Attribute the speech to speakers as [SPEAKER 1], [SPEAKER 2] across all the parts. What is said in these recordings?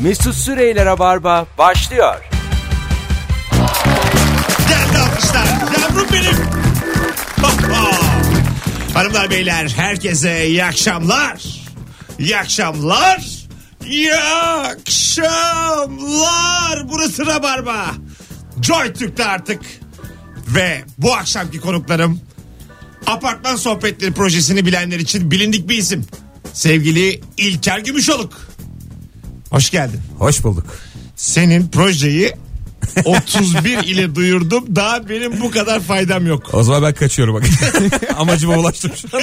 [SPEAKER 1] Mesut Süreyler'e barba başlıyor.
[SPEAKER 2] Değerli alkışlar. Yavrum benim. Hoppa. Hanımlar beyler herkese iyi akşamlar. İyi akşamlar. İyi akşamlar. Burası Rabarba. Joy Türk'te artık. Ve bu akşamki konuklarım apartman sohbetleri projesini bilenler için bilindik bir isim. Sevgili İlker Gümüşoluk. Hoş geldin.
[SPEAKER 3] Hoş bulduk.
[SPEAKER 2] Senin projeyi 31 ile duyurdum. Daha benim bu kadar faydam yok.
[SPEAKER 3] O zaman ben kaçıyorum bak. Amacıma ulaştım şu an.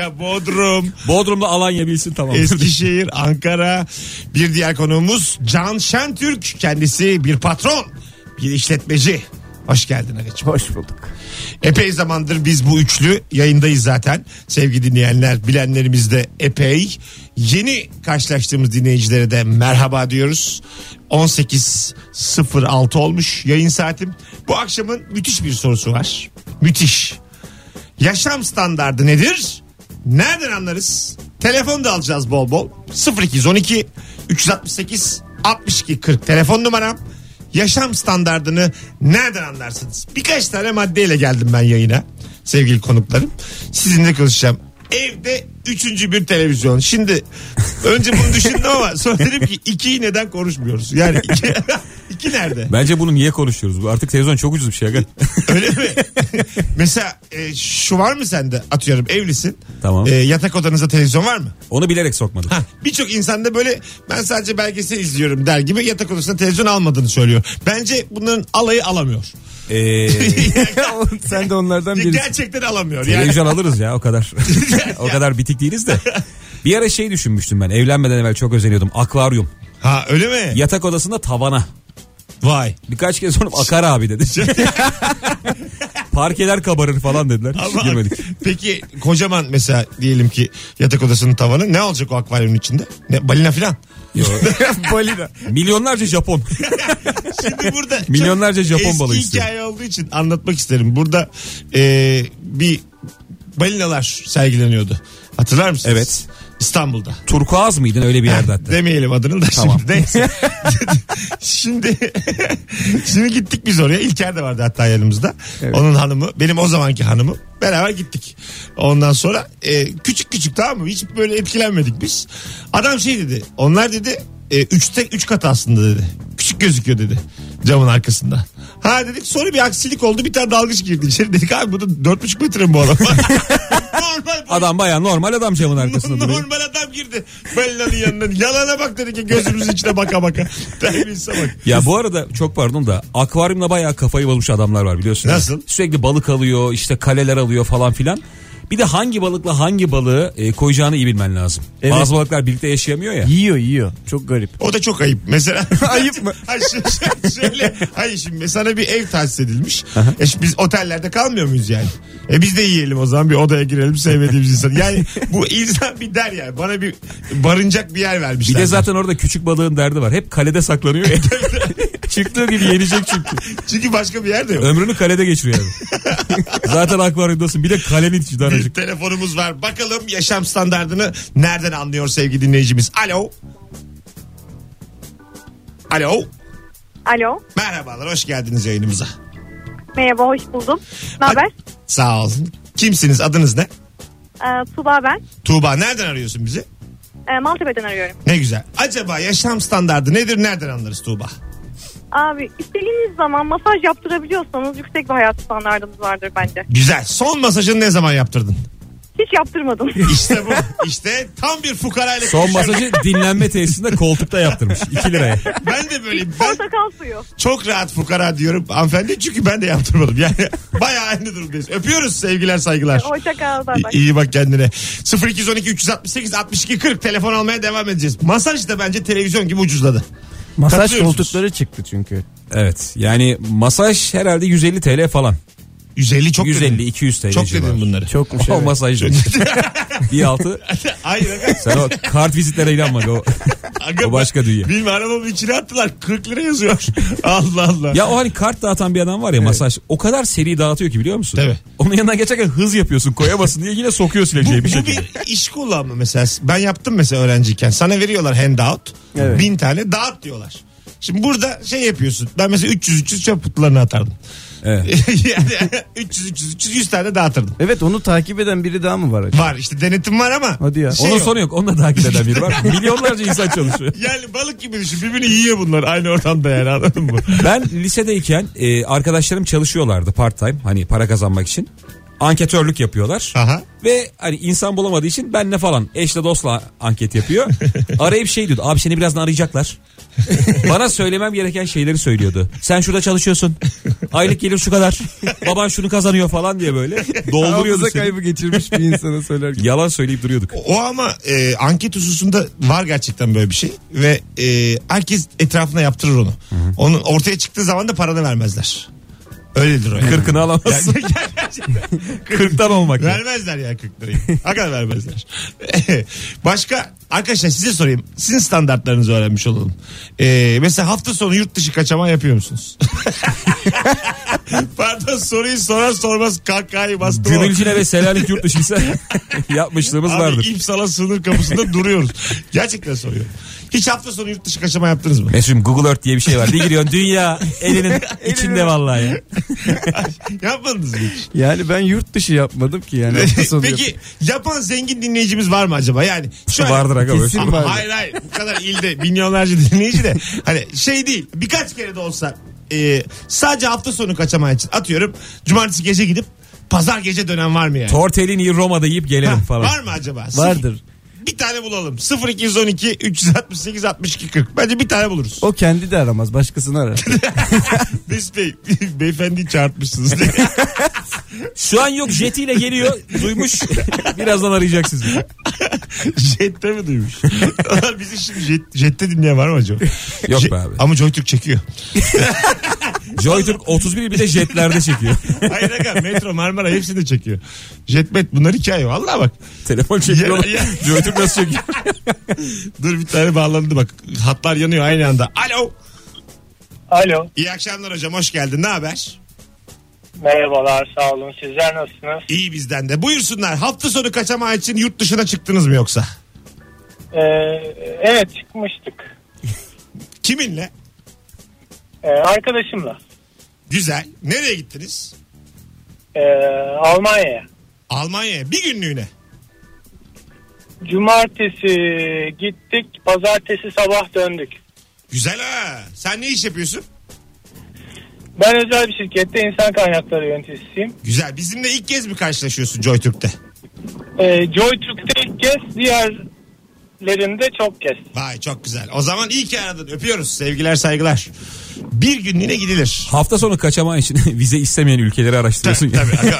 [SPEAKER 2] Ya Bodrum,
[SPEAKER 3] Bodrum'da Alanya bilsin tamam.
[SPEAKER 2] Eskişehir, Ankara. Bir diğer konuğumuz Can Şentürk. Kendisi bir patron, bir işletmeci. Hoş geldin Ali'ciğim.
[SPEAKER 3] Hoş bulduk.
[SPEAKER 2] Epey zamandır biz bu üçlü yayındayız zaten. Sevgili dinleyenler, bilenlerimiz de epey. Yeni karşılaştığımız dinleyicilere de merhaba diyoruz. 18.06 olmuş yayın saatim. Bu akşamın müthiş bir sorusu var. Müthiş. Yaşam standardı nedir? Nereden anlarız? Telefon da alacağız bol bol. 0212 368 62 40 telefon numaram. Yaşam standardını nereden anlarsınız? Birkaç tane maddeyle geldim ben yayına sevgili konuklarım. Sizinle konuşacağım. Evde üçüncü bir televizyon. Şimdi önce bunu düşündüm ama sonra dedim ki ikiyi neden konuşmuyoruz? Yani iki, iki nerede?
[SPEAKER 3] Bence bunu niye konuşuyoruz? Bu artık televizyon çok ucuz bir şey. aga.
[SPEAKER 2] Öyle mi? Mesela e, şu var mı sende? Atıyorum evlisin.
[SPEAKER 3] Tamam.
[SPEAKER 2] E, yatak odanızda televizyon var mı?
[SPEAKER 3] Onu bilerek sokmadım.
[SPEAKER 2] Hah, Birçok insanda böyle ben sadece belgesel izliyorum der gibi yatak odasında televizyon almadığını söylüyor. Bence bunların alayı alamıyor.
[SPEAKER 3] Ee,
[SPEAKER 4] Sen de onlardan birisin.
[SPEAKER 2] Gerçekten alamıyor. Yani
[SPEAKER 3] televizyon alırız ya o kadar. o kadar bitik değiliz de. Bir ara şey düşünmüştüm ben. Evlenmeden evvel çok özeniyordum. Akvaryum.
[SPEAKER 2] ha öyle mi?
[SPEAKER 3] Yatak odasında tavana.
[SPEAKER 2] Vay.
[SPEAKER 3] Birkaç kez sorup akar abi dedi. Parkeler kabarır falan dediler. Hiç
[SPEAKER 2] Ama-
[SPEAKER 3] girmedik.
[SPEAKER 2] Peki kocaman mesela diyelim ki yatak odasının tavanı ne olacak o akvaryumun içinde? Ne, balina filan.
[SPEAKER 4] Balina.
[SPEAKER 3] Milyonlarca Japon.
[SPEAKER 2] Şimdi burada çok
[SPEAKER 3] Milyonlarca Japon
[SPEAKER 2] eski
[SPEAKER 3] balığı istiyor.
[SPEAKER 2] hikaye olduğu için anlatmak isterim. Burada e, bir balinalar sergileniyordu. Hatırlar mısınız?
[SPEAKER 3] Evet.
[SPEAKER 2] İstanbul'da.
[SPEAKER 3] Turkuaz mıydın öyle bir yerde hatta?
[SPEAKER 2] Demeyelim adını da
[SPEAKER 3] Tamam.
[SPEAKER 2] şimdi. Neyse. şimdi şimdi gittik biz oraya. İlker de vardı hatta yanımızda. Onun hanımı, benim o zamanki hanımım. Beraber gittik. Ondan sonra e, küçük küçük tamam mı? Hiç böyle etkilenmedik biz. Adam şey dedi. Onlar dedi e, üçte üç kat aslında dedi. Küçük gözüküyor dedi camın arkasında. Ha dedik sonra bir aksilik oldu bir tane dalgıç girdi içeri dedik abi bu da dört buçuk metre mi bu adam? Normal bu
[SPEAKER 3] Adam baya normal adam camın arkasında duruyor.
[SPEAKER 2] Normal adam girdi Bellan'ın yanına. Yalana bak dedi ki gözümüzün içine baka baka. Terbiyesize bak.
[SPEAKER 3] Ya bu arada çok pardon da akvaryumda bayağı kafayı bulmuş adamlar var biliyorsun.
[SPEAKER 2] Nasıl?
[SPEAKER 3] Sürekli balık alıyor işte kaleler alıyor falan filan. Bir de hangi balıkla hangi balığı e, koyacağını iyi bilmen lazım.
[SPEAKER 4] Evet.
[SPEAKER 3] Bazı balıklar birlikte yaşayamıyor ya.
[SPEAKER 4] Yiyor yiyor. Çok garip.
[SPEAKER 2] O da çok ayıp. Mesela
[SPEAKER 4] Ayıp mı?
[SPEAKER 2] Hayır şimdi şöyle- şöyle. Hayır şimdi sana bir ev tahsis edilmiş. E şimdi biz otellerde kalmıyor muyuz yani? E biz de yiyelim o zaman bir odaya girelim sevmediğimiz insan. Yani bu insan bir der yani. Bana bir barınacak bir yer
[SPEAKER 3] Bir
[SPEAKER 2] vermişler.
[SPEAKER 3] de zaten orada küçük balığın derdi var. Hep kalede saklanıyor. Çıktığı gibi yenecek çünkü.
[SPEAKER 2] Çünkü başka bir yer de yok.
[SPEAKER 3] Ömrünü kalede geçiriyor yani. zaten akvaryumdasın bir de kalenin içinde
[SPEAKER 2] Bir
[SPEAKER 3] aracık.
[SPEAKER 2] telefonumuz var. Bakalım yaşam standartını nereden anlıyor sevgili dinleyicimiz? Alo. Alo.
[SPEAKER 5] Alo.
[SPEAKER 2] Merhabalar hoş geldiniz yayınımıza.
[SPEAKER 5] Merhaba, hoş buldum. Ne haber?
[SPEAKER 2] Sağ olun. Kimsiniz adınız ne?
[SPEAKER 5] Ee, Tuba ben.
[SPEAKER 2] Tuğba nereden arıyorsun bizi?
[SPEAKER 5] Ee, Maltepe'den arıyorum.
[SPEAKER 2] Ne güzel. Acaba yaşam standardı nedir nereden anlarız Tuğba?
[SPEAKER 5] Abi istediğiniz zaman masaj yaptırabiliyorsanız yüksek bir hayat standartınız vardır bence.
[SPEAKER 2] Güzel. Son masajını ne zaman yaptırdın?
[SPEAKER 5] Hiç yaptırmadım.
[SPEAKER 2] İşte bu. işte tam bir fukarayla
[SPEAKER 3] Son
[SPEAKER 2] konuşuyorum.
[SPEAKER 3] masajı dinlenme tesisinde koltukta yaptırmış. 2 liraya.
[SPEAKER 2] Ben de böyleyim. Ben
[SPEAKER 5] Portakal suyu.
[SPEAKER 2] çok rahat fukara diyorum hanımefendi çünkü ben de yaptırmadım. Yani bayağı aynı durumdayız. Öpüyoruz sevgiler saygılar.
[SPEAKER 5] Hoşça kal. bay bay.
[SPEAKER 2] İyi iyi bak kendine. 0212 368 62 40 telefon almaya devam edeceğiz. Masaj da bence televizyon gibi ucuzladı.
[SPEAKER 4] Masaj
[SPEAKER 2] Katılıyor musunuz?
[SPEAKER 4] koltukları çıktı çünkü.
[SPEAKER 3] Evet yani masaj herhalde 150 TL falan.
[SPEAKER 2] 150 çok
[SPEAKER 3] 150
[SPEAKER 2] dedim.
[SPEAKER 3] 200 TL.
[SPEAKER 2] Çok dedim bunları.
[SPEAKER 4] Çokmuş
[SPEAKER 3] O
[SPEAKER 4] evet.
[SPEAKER 3] masaj. Bir altı.
[SPEAKER 2] Hayır.
[SPEAKER 3] Sen o kart vizitlere inanma. O
[SPEAKER 2] Aga,
[SPEAKER 3] O başka dünya.
[SPEAKER 2] Bilmem arabamın içine attılar. 40 lira yazıyor. Allah Allah.
[SPEAKER 3] Ya o hani kart dağıtan bir adam var ya masaj. O kadar seri dağıtıyor ki biliyor musun?
[SPEAKER 2] Tabii.
[SPEAKER 3] Onun yanına geçerken hız yapıyorsun koyamasın diye yine sokuyor sileceği şey bir
[SPEAKER 2] bu
[SPEAKER 3] şekilde.
[SPEAKER 2] bir şey iş kulağı mı mesela? Ben yaptım mesela öğrenciyken. Sana veriyorlar handout.
[SPEAKER 4] Evet.
[SPEAKER 2] Bin tane dağıt diyorlar. Şimdi burada şey yapıyorsun. Ben mesela 300-300 çöp kutularını atardım.
[SPEAKER 3] Evet.
[SPEAKER 2] yani 300-300-300 100 tane dağıtırdım.
[SPEAKER 4] Evet onu takip eden biri daha mı var acaba?
[SPEAKER 2] Var işte denetim var ama.
[SPEAKER 4] Hadi ya.
[SPEAKER 2] Şey
[SPEAKER 3] Onun
[SPEAKER 2] yok.
[SPEAKER 3] sonu yok. Onu da takip eden biri var. Milyonlarca insan çalışıyor.
[SPEAKER 2] Yani balık gibi düşün. Birbirini yiyor bunlar aynı ortamda yani anladın mı?
[SPEAKER 3] Ben lisedeyken e, arkadaşlarım çalışıyorlardı part time. Hani para kazanmak için. Anketörlük yapıyorlar.
[SPEAKER 2] Aha.
[SPEAKER 3] Ve hani insan bulamadığı için benle falan eşle dostla anket yapıyor. Arayıp şey diyordu. Abi seni birazdan arayacaklar. Bana söylemem gereken şeyleri söylüyordu. Sen şurada çalışıyorsun. Aylık gelir şu kadar. Baban şunu kazanıyor falan diye böyle. Dolduruyordu
[SPEAKER 4] Hafıza
[SPEAKER 3] seni.
[SPEAKER 4] kaybı geçirmiş bir insana söyler gibi.
[SPEAKER 3] Yalan söyleyip duruyorduk.
[SPEAKER 2] O ama e, anket hususunda var gerçekten böyle bir şey ve e, herkes etrafına yaptırır onu. Onun ortaya çıktığı zaman da paranı vermezler. Öyledir o. Yani.
[SPEAKER 3] Kırkını alamazsın. Kırktan olmak. yok.
[SPEAKER 2] vermezler ya 40 lirayı. Hakikaten vermezler. Başka arkadaşlar size sorayım. Sizin standartlarınızı öğrenmiş olalım. E, mesela hafta sonu yurt dışı kaçama yapıyor musunuz? Pardon soruyu sorar sormaz kahkahayı bastım. ama-
[SPEAKER 3] Gümülcine ve Selanik yurt dışı ise yapmışlığımız
[SPEAKER 2] Abi
[SPEAKER 3] vardır.
[SPEAKER 2] İpsala sınır kapısında duruyoruz. Gerçekten soruyorum. Hiç hafta sonu yurt dışı kaçama yaptınız mı?
[SPEAKER 3] Mesut'um Google Earth diye bir şey var. Bir giriyorsun dünya elinin içinde vallahi ya.
[SPEAKER 2] Yapmadınız mı hiç?
[SPEAKER 4] Yani ben yurt dışı yapmadım ki yani. hafta sonu
[SPEAKER 2] Peki yapan zengin dinleyicimiz var mı acaba? Yani şu an-
[SPEAKER 3] Vardır aga böyle.
[SPEAKER 4] Kesin.
[SPEAKER 2] Ama
[SPEAKER 4] vardır.
[SPEAKER 2] hayır hayır bu kadar ilde milyonlarca dinleyici de hani şey değil birkaç kere de olsa e, sadece hafta sonu kaçamayan için atıyorum cumartesi gece gidip pazar gece dönen var mı yani?
[SPEAKER 3] Tortellini Roma'da yiyip gelelim
[SPEAKER 2] Ha,
[SPEAKER 3] falan.
[SPEAKER 2] Var mı acaba?
[SPEAKER 4] yapıyorum. Vardır.
[SPEAKER 2] Bir tane bulalım. 0212 368 62 40. Bence bir tane buluruz.
[SPEAKER 4] O kendi de aramaz başkasını arar.
[SPEAKER 2] Mesut Bey, beyefendi çarpmışsınız diye.
[SPEAKER 3] Şu an yok jetiyle geliyor. Duymuş. Birazdan arayacak sizi.
[SPEAKER 2] Jette mi duymuş? Ulan Bizi şimdi jet, jette dinleyen var mı acaba?
[SPEAKER 3] Yok
[SPEAKER 2] Je-
[SPEAKER 3] be abi.
[SPEAKER 2] Ama JoyTürk çekiyor.
[SPEAKER 3] Joytürk 31 bir de jetlerde çekiyor.
[SPEAKER 2] Hayır aga Metro Marmara hepsini de çekiyor. Jetmet bunlar hikaye. Vallahi bak.
[SPEAKER 3] Telefon çekiyor.
[SPEAKER 2] Ya- ya-
[SPEAKER 3] Joytürk nasıl çekiyor?
[SPEAKER 2] Dur bir tane bağlandı bak. Hatlar yanıyor aynı anda. Alo.
[SPEAKER 6] Alo,
[SPEAKER 2] İyi akşamlar hocam hoş geldin. Ne haber?
[SPEAKER 6] merhabalar, sağ olun. Sizler nasılsınız?
[SPEAKER 2] İyi bizden de. Buyursunlar. Hafta sonu kaçamağı için yurt dışına çıktınız mı yoksa?
[SPEAKER 6] Ee, evet, çıkmıştık.
[SPEAKER 2] Kiminle?
[SPEAKER 6] Ee, arkadaşımla.
[SPEAKER 2] Güzel. Nereye gittiniz?
[SPEAKER 6] Ee, Almanya'ya.
[SPEAKER 2] Almanya'ya. Bir günlüğüne.
[SPEAKER 6] Cumartesi gittik, pazartesi sabah döndük.
[SPEAKER 2] Güzel ha. Sen ne iş yapıyorsun?
[SPEAKER 6] Ben özel bir şirkette insan kaynakları yöneticisiyim.
[SPEAKER 2] Güzel. Bizimle ilk kez mi karşılaşıyorsun JoyTürk'te?
[SPEAKER 6] Ee, JoyTürk'te ilk kez, diğerlerinde çok kez.
[SPEAKER 2] Vay çok güzel. O zaman iyi ki aradın. Öpüyoruz. Sevgiler saygılar. Bir günlüğüne gidilir.
[SPEAKER 3] Hafta sonu kaçamağın için vize istemeyen ülkeleri araştırıyorsun. ya.
[SPEAKER 2] Tabii.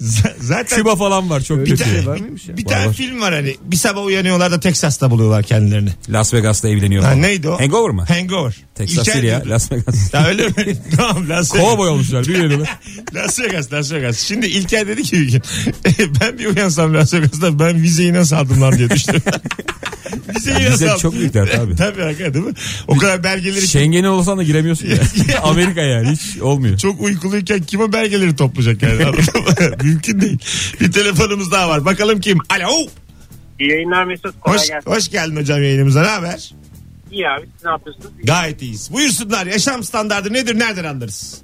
[SPEAKER 2] Z- Zaten
[SPEAKER 3] Küba falan var çok
[SPEAKER 4] Öyle bir
[SPEAKER 3] kötü.
[SPEAKER 4] şey var mıymış ya?
[SPEAKER 2] bir tane
[SPEAKER 3] Var, var.
[SPEAKER 2] film var hani. Bir sabah uyanıyorlar da Texas'ta buluyorlar kendilerini.
[SPEAKER 3] Las Vegas'ta evleniyor.
[SPEAKER 2] Ha,
[SPEAKER 3] falan.
[SPEAKER 2] neydi o?
[SPEAKER 3] Hangover mı?
[SPEAKER 2] Hangover.
[SPEAKER 3] Texas
[SPEAKER 2] İlker
[SPEAKER 3] değil ya.
[SPEAKER 2] diyordu.
[SPEAKER 3] Las Vegas.
[SPEAKER 2] Ya öyle mi? tamam Las Vegas.
[SPEAKER 3] Kovboy olmuşlar bir yerine.
[SPEAKER 2] Las Vegas, Las Vegas. Şimdi İlker dedi ki bir gün ben bir uyansam Las Vegas'ta ben vizeyi nasıl aldım lan diye düştüm. vizeyi nasıl
[SPEAKER 3] Vize
[SPEAKER 2] aldım?
[SPEAKER 3] çok büyük dert abi. Şey
[SPEAKER 2] Tabii hakikaten değil mi? O kadar belgeleri
[SPEAKER 3] Schengen'e olsan da giremiyorsun ya. Amerika yani hiç olmuyor.
[SPEAKER 2] Çok uykuluyken kim o belgeleri toplayacak yani anladın mı? Mümkün değil. Bir telefonumuz daha var. Bakalım kim? Alo.
[SPEAKER 6] İyi yayınlar Mesut,
[SPEAKER 2] Hoş, hoş geldin hocam yayınımıza. Ne haber?
[SPEAKER 6] İyi abi, siz ne yapıyorsunuz?
[SPEAKER 2] Gayet iyiyiz. Buyursunlar. Yaşam standardı nedir? Nereden anlarız?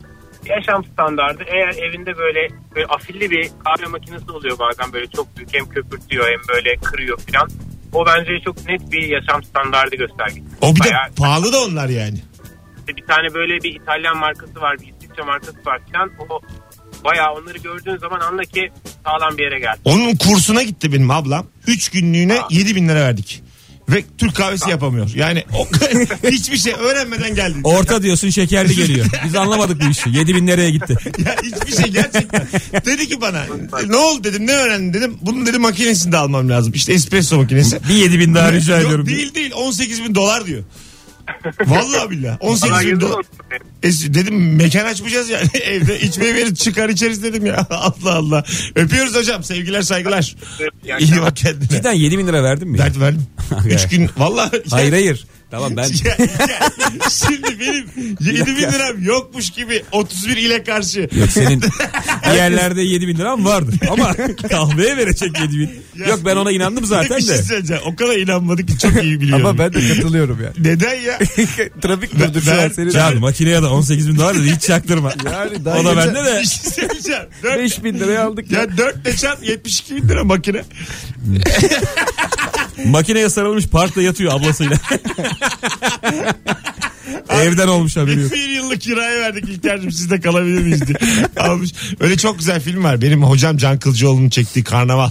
[SPEAKER 6] yaşam standardı. Eğer evinde böyle, böyle afilli bir kahve makinesi oluyor bazen böyle çok büyük hem köpürtüyor hem böyle kırıyor filan. O bence çok net bir yaşam standardı göstergesi.
[SPEAKER 2] O bir de
[SPEAKER 6] Bayağı-
[SPEAKER 2] pahalı da onlar yani.
[SPEAKER 6] işte bir tane böyle bir İtalyan markası var, bir İsviçre markası var filan. O bayağı onları gördüğün zaman anla ki sağlam bir yere geldi.
[SPEAKER 2] Onun kursuna gitti benim ablam. 3 günlüğüne
[SPEAKER 6] Aa.
[SPEAKER 2] 7 bin lira verdik. Ve Türk kahvesi yapamıyor. Yani o, hiçbir şey öğrenmeden geldi.
[SPEAKER 3] Orta diyorsun şekerli geliyor. Biz anlamadık bu işi. 7000 nereye gitti?
[SPEAKER 2] Ya hiçbir şey gerçekten. Dedi ki bana ne oldu dedim ne öğrendin dedim. Bunun dedim makinesini de almam lazım. İşte espresso makinesi.
[SPEAKER 3] Bir 7000 daha rica
[SPEAKER 2] Yok,
[SPEAKER 3] ediyorum.
[SPEAKER 2] Değil değil 18 bin dolar diyor. Vallahi billahi. 18
[SPEAKER 6] Bana
[SPEAKER 2] bin
[SPEAKER 6] girdi
[SPEAKER 2] dolar. E, dedim mekan açmayacağız yani evde. içmeye veririz çıkar içeriz dedim ya. Allah Allah. Öpüyoruz hocam. Sevgiler saygılar.
[SPEAKER 6] Yani-
[SPEAKER 2] İyi bak kendine.
[SPEAKER 3] Cidden 7000 lira verdin mi? ya?
[SPEAKER 2] Dert verdim. Üç gün valla.
[SPEAKER 3] Hayır hayır. Tamam ben
[SPEAKER 2] Ya- ya- şimdi benim 7 bin liram yokmuş gibi 31 ile karşı.
[SPEAKER 3] Yok senin bir yerlerde 7000 bin liram vardı ama kahveye verecek 7000.
[SPEAKER 2] Ya-
[SPEAKER 3] Yok ben ona inandım
[SPEAKER 2] Bir
[SPEAKER 3] zaten
[SPEAKER 2] şey
[SPEAKER 3] de.
[SPEAKER 2] söyleyeceğim. O kadar inanmadık ki çok iyi biliyorum.
[SPEAKER 4] Ama ben de katılıyorum yani.
[SPEAKER 2] Neden ya?
[SPEAKER 4] Trafik
[SPEAKER 2] Ben-
[SPEAKER 4] durdu şu
[SPEAKER 2] ben-
[SPEAKER 4] an seni.
[SPEAKER 3] Can makineye de 18 bin dolar dedi hiç çaktırma.
[SPEAKER 4] Yani daha
[SPEAKER 3] o da
[SPEAKER 4] geçen-
[SPEAKER 3] bende de.
[SPEAKER 2] Bir şey söyleyeceğim. Dört-
[SPEAKER 4] 5 bin liraya aldık ya.
[SPEAKER 2] ya 4 ile çarp 72 bin lira makine.
[SPEAKER 3] Makineye sarılmış parkta yatıyor ablasıyla. Evden olmuş haberi yok.
[SPEAKER 2] Bir yıllık kiraya verdik İlker'cim sizde kalabilir miyiz diye. Almış. Öyle çok güzel film var. Benim hocam Can Kılcıoğlu'nun çektiği Karnaval.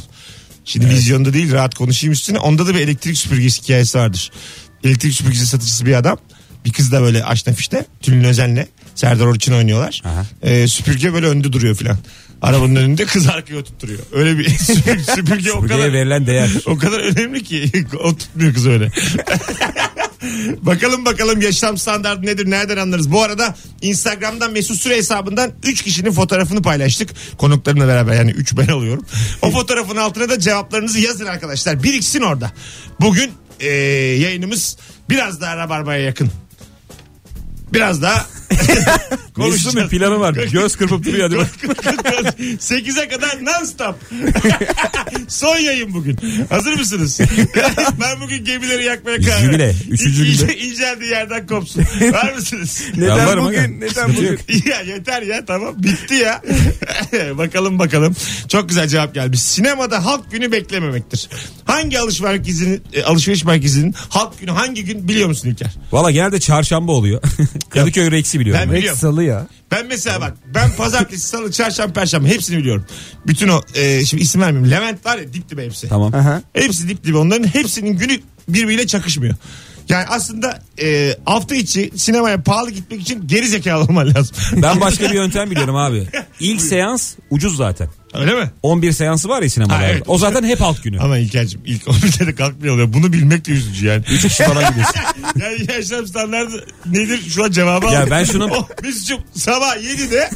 [SPEAKER 2] Şimdi vizyonda değil rahat konuşayım üstüne. Onda da bir elektrik süpürgesi hikayesi vardır. Elektrik süpürgesi satıcısı bir adam. Bir kız da böyle aşna fişte Tülin Özen'le Serdar Orçun oynuyorlar. Ee, süpürge böyle önde duruyor filan. Arabanın önünde kız arkaya oturtturuyor. Öyle bir süpürge, süpürge o kadar
[SPEAKER 3] Buraya verilen değer.
[SPEAKER 2] o kadar önemli ki o tutmuyor kız öyle. bakalım bakalım yaşam standartı nedir nereden anlarız. Bu arada Instagram'dan Mesut Süre hesabından 3 kişinin fotoğrafını paylaştık. Konuklarımla beraber yani 3 ben alıyorum. O fotoğrafın altına da cevaplarınızı yazın arkadaşlar. Biriksin orada. Bugün eee, yayınımız biraz daha rabarbaya yakın. Biraz daha
[SPEAKER 3] Mesut'un bir planı var. Göz kırpıp duruyor hadi bak.
[SPEAKER 2] 8'e kadar non stop. Son yayın bugün. Hazır mısınız? ben bugün gemileri yakmaya karar verdim.
[SPEAKER 3] Jübile, üçüncü
[SPEAKER 2] İ-
[SPEAKER 3] günde.
[SPEAKER 2] ince- inceldiği yerden kopsun. Var mısınız?
[SPEAKER 3] Ben
[SPEAKER 4] Neden
[SPEAKER 3] varım aga.
[SPEAKER 4] bugün? Neden
[SPEAKER 3] Sıkıntı
[SPEAKER 4] bugün?
[SPEAKER 3] yok.
[SPEAKER 2] ya yeter ya tamam bitti ya. bakalım bakalım. Çok güzel cevap gelmiş. Sinemada halk günü beklememektir. Hangi alışveriş merkezinin, e, alışveriş merkezinin halk günü hangi gün biliyor musun İlker?
[SPEAKER 3] Valla genelde çarşamba oluyor. Kadıköy Rex'i biliyorum.
[SPEAKER 2] Ben
[SPEAKER 3] ben.
[SPEAKER 2] biliyorum.
[SPEAKER 4] Salı ya.
[SPEAKER 2] Ben mesela bak ben pazartesi, salı, çarşamba, perşembe hepsini biliyorum. Bütün o e, şimdi isim vermeyeyim. Levent var ya dip dibe hepsi.
[SPEAKER 3] Tamam.
[SPEAKER 4] Aha.
[SPEAKER 2] Hepsi dip dibe onların hepsinin günü birbiriyle çakışmıyor. Yani aslında e, hafta içi sinemaya pahalı gitmek için geri zekalı olman lazım.
[SPEAKER 3] Ben başka bir yöntem biliyorum abi. İlk seans ucuz zaten.
[SPEAKER 2] Öyle mi?
[SPEAKER 3] 11 seansı var ya sinemalarda.
[SPEAKER 2] Ha, evet.
[SPEAKER 3] O zaten hep halk günü.
[SPEAKER 2] Ama İlker'cim ilk 11'de de kalkmıyor oluyor. Bunu bilmek de üzücü yani.
[SPEAKER 3] 3 kişi falan gidiyorsun.
[SPEAKER 2] Yani yaşam standartı nedir? Şu an cevabı
[SPEAKER 3] Ya
[SPEAKER 2] aldım.
[SPEAKER 3] ben şunun-
[SPEAKER 2] Oh, Mesut'cum sabah 7'de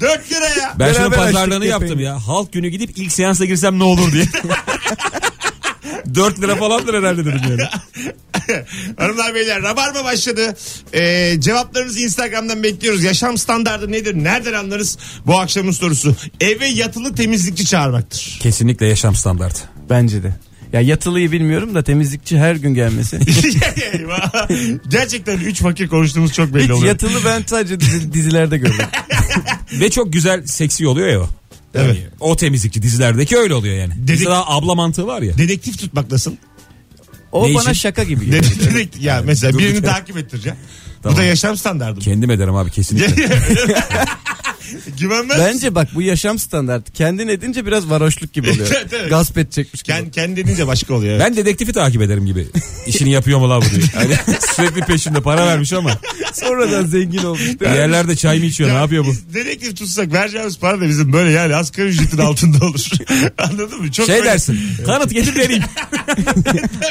[SPEAKER 2] 4 lira ya.
[SPEAKER 3] Ben şunun
[SPEAKER 4] Beraber açtık
[SPEAKER 3] pazarlığını
[SPEAKER 4] yapayım.
[SPEAKER 3] yaptım ya. Halk günü gidip ilk seansa girsem ne olur diye. 4 lira falandır herhalde dedim yani.
[SPEAKER 2] Hanımlar beyler rabarba başladı. Ee, cevaplarınızı Instagram'dan bekliyoruz. Yaşam standardı nedir? Nereden anlarız? Bu akşamın sorusu. Eve yatılı temizlikçi çağırmaktır.
[SPEAKER 3] Kesinlikle yaşam standartı.
[SPEAKER 4] Bence de. Ya yatılıyı bilmiyorum da temizlikçi her gün gelmesi.
[SPEAKER 2] Eyvah. Gerçekten üç fakir konuştuğumuz çok belli
[SPEAKER 4] Hiç
[SPEAKER 2] oluyor.
[SPEAKER 4] yatılı ben sadece dizi- dizilerde gördüm.
[SPEAKER 3] Ve çok güzel seksi oluyor ya o.
[SPEAKER 2] Evet.
[SPEAKER 3] O temizlikçi dizilerdeki öyle oluyor yani. Bizde
[SPEAKER 2] Dedik-
[SPEAKER 3] daha abla mantığı var ya.
[SPEAKER 2] Dedektif tutmak nasıl?
[SPEAKER 4] O
[SPEAKER 3] Ne
[SPEAKER 4] bana
[SPEAKER 3] işin?
[SPEAKER 4] şaka gibi geliyor.
[SPEAKER 2] Dedektif, ya mesela
[SPEAKER 3] Durduk
[SPEAKER 2] birini
[SPEAKER 3] yere.
[SPEAKER 2] takip ettireceksin.
[SPEAKER 3] Tamam.
[SPEAKER 2] Bu da yaşam standardı.
[SPEAKER 3] Kendim ederim abi kesinlikle.
[SPEAKER 2] Güvenmez. misin?
[SPEAKER 4] Bence bak bu yaşam standartı. Kendin edince biraz varoşluk gibi oluyor.
[SPEAKER 2] Evet, evet.
[SPEAKER 4] Gasp edecekmiş gibi.
[SPEAKER 2] Kend, kendi edince başka oluyor.
[SPEAKER 3] ben dedektifi takip ederim gibi. İşini yapıyor mu la bu diye. Hani sürekli peşinde para vermiş ama.
[SPEAKER 4] Sonradan zengin olmuş.
[SPEAKER 3] Bir yerlerde çay mı içiyor ne
[SPEAKER 2] Ya
[SPEAKER 3] yapıyor bu?
[SPEAKER 2] biz Dedektif tutsak vereceğimiz para da bizim böyle yani asgari ücretin altında olur. Anladın mı? Çok
[SPEAKER 3] Şey
[SPEAKER 2] böyle-
[SPEAKER 3] dersin. Kanıt getir vereyim.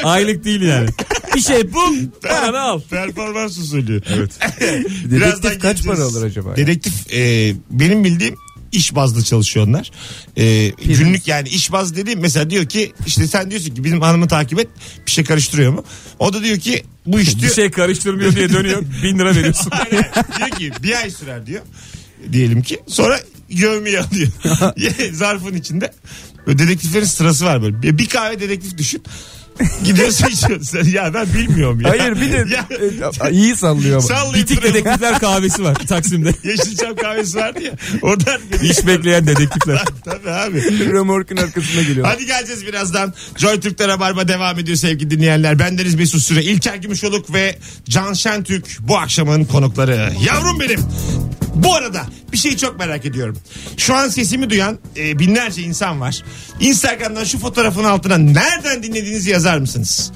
[SPEAKER 3] Aylık değil yani. Bir şey bul. Paranı al.
[SPEAKER 2] Performans usulü. Evet.
[SPEAKER 4] Dedektif kaç para alır acaba?
[SPEAKER 2] Dedektif e, benim bildiğim iş bazlı çalışıyor onlar. E, günlük yani iş bazlı dediğim mesela diyor ki işte sen diyorsun ki bizim hanımı takip et bir şey karıştırıyor mu? O da diyor ki bu iş
[SPEAKER 3] Bir
[SPEAKER 2] diyor.
[SPEAKER 3] şey karıştırmıyor diye dönüyor. Bin lira veriyorsun.
[SPEAKER 2] Aynen. diyor ki bir ay sürer diyor. Diyelim ki sonra gömüyor alıyor. Zarfın içinde. Böyle dedektiflerin sırası var böyle. Bir- Bir kahve dedektif düşün. Gidiyorsun içiyorsun. Ya ben bilmiyorum ya.
[SPEAKER 4] Hayır bir de
[SPEAKER 2] Ya,
[SPEAKER 4] e, iyi sallıyor ama.
[SPEAKER 2] sallayıp
[SPEAKER 3] Bitik
[SPEAKER 2] duruyor.
[SPEAKER 3] dedektifler kahvesi var Taksim'de.
[SPEAKER 2] Yeşilçam kahvesi vardı ya. Oradan geliyor.
[SPEAKER 3] İş bekleyen dedektifler.
[SPEAKER 2] Tabii abi.
[SPEAKER 4] Römorkun arkasına geliyor.
[SPEAKER 2] Hadi geleceğiz birazdan. Joy Türk'te Rabarba devam ediyor sevgili dinleyenler. Bendeniz Mesut Süre, İlker Gümüşoluk ve Can Şentürk bu akşamın konukları. Yavrum benim. Bu arada bir şeyi çok merak ediyorum. Şu an sesimi duyan e, binlerce insan var. Instagram'dan şu fotoğrafın altına nereden dinlediğinizi yazar mısınız?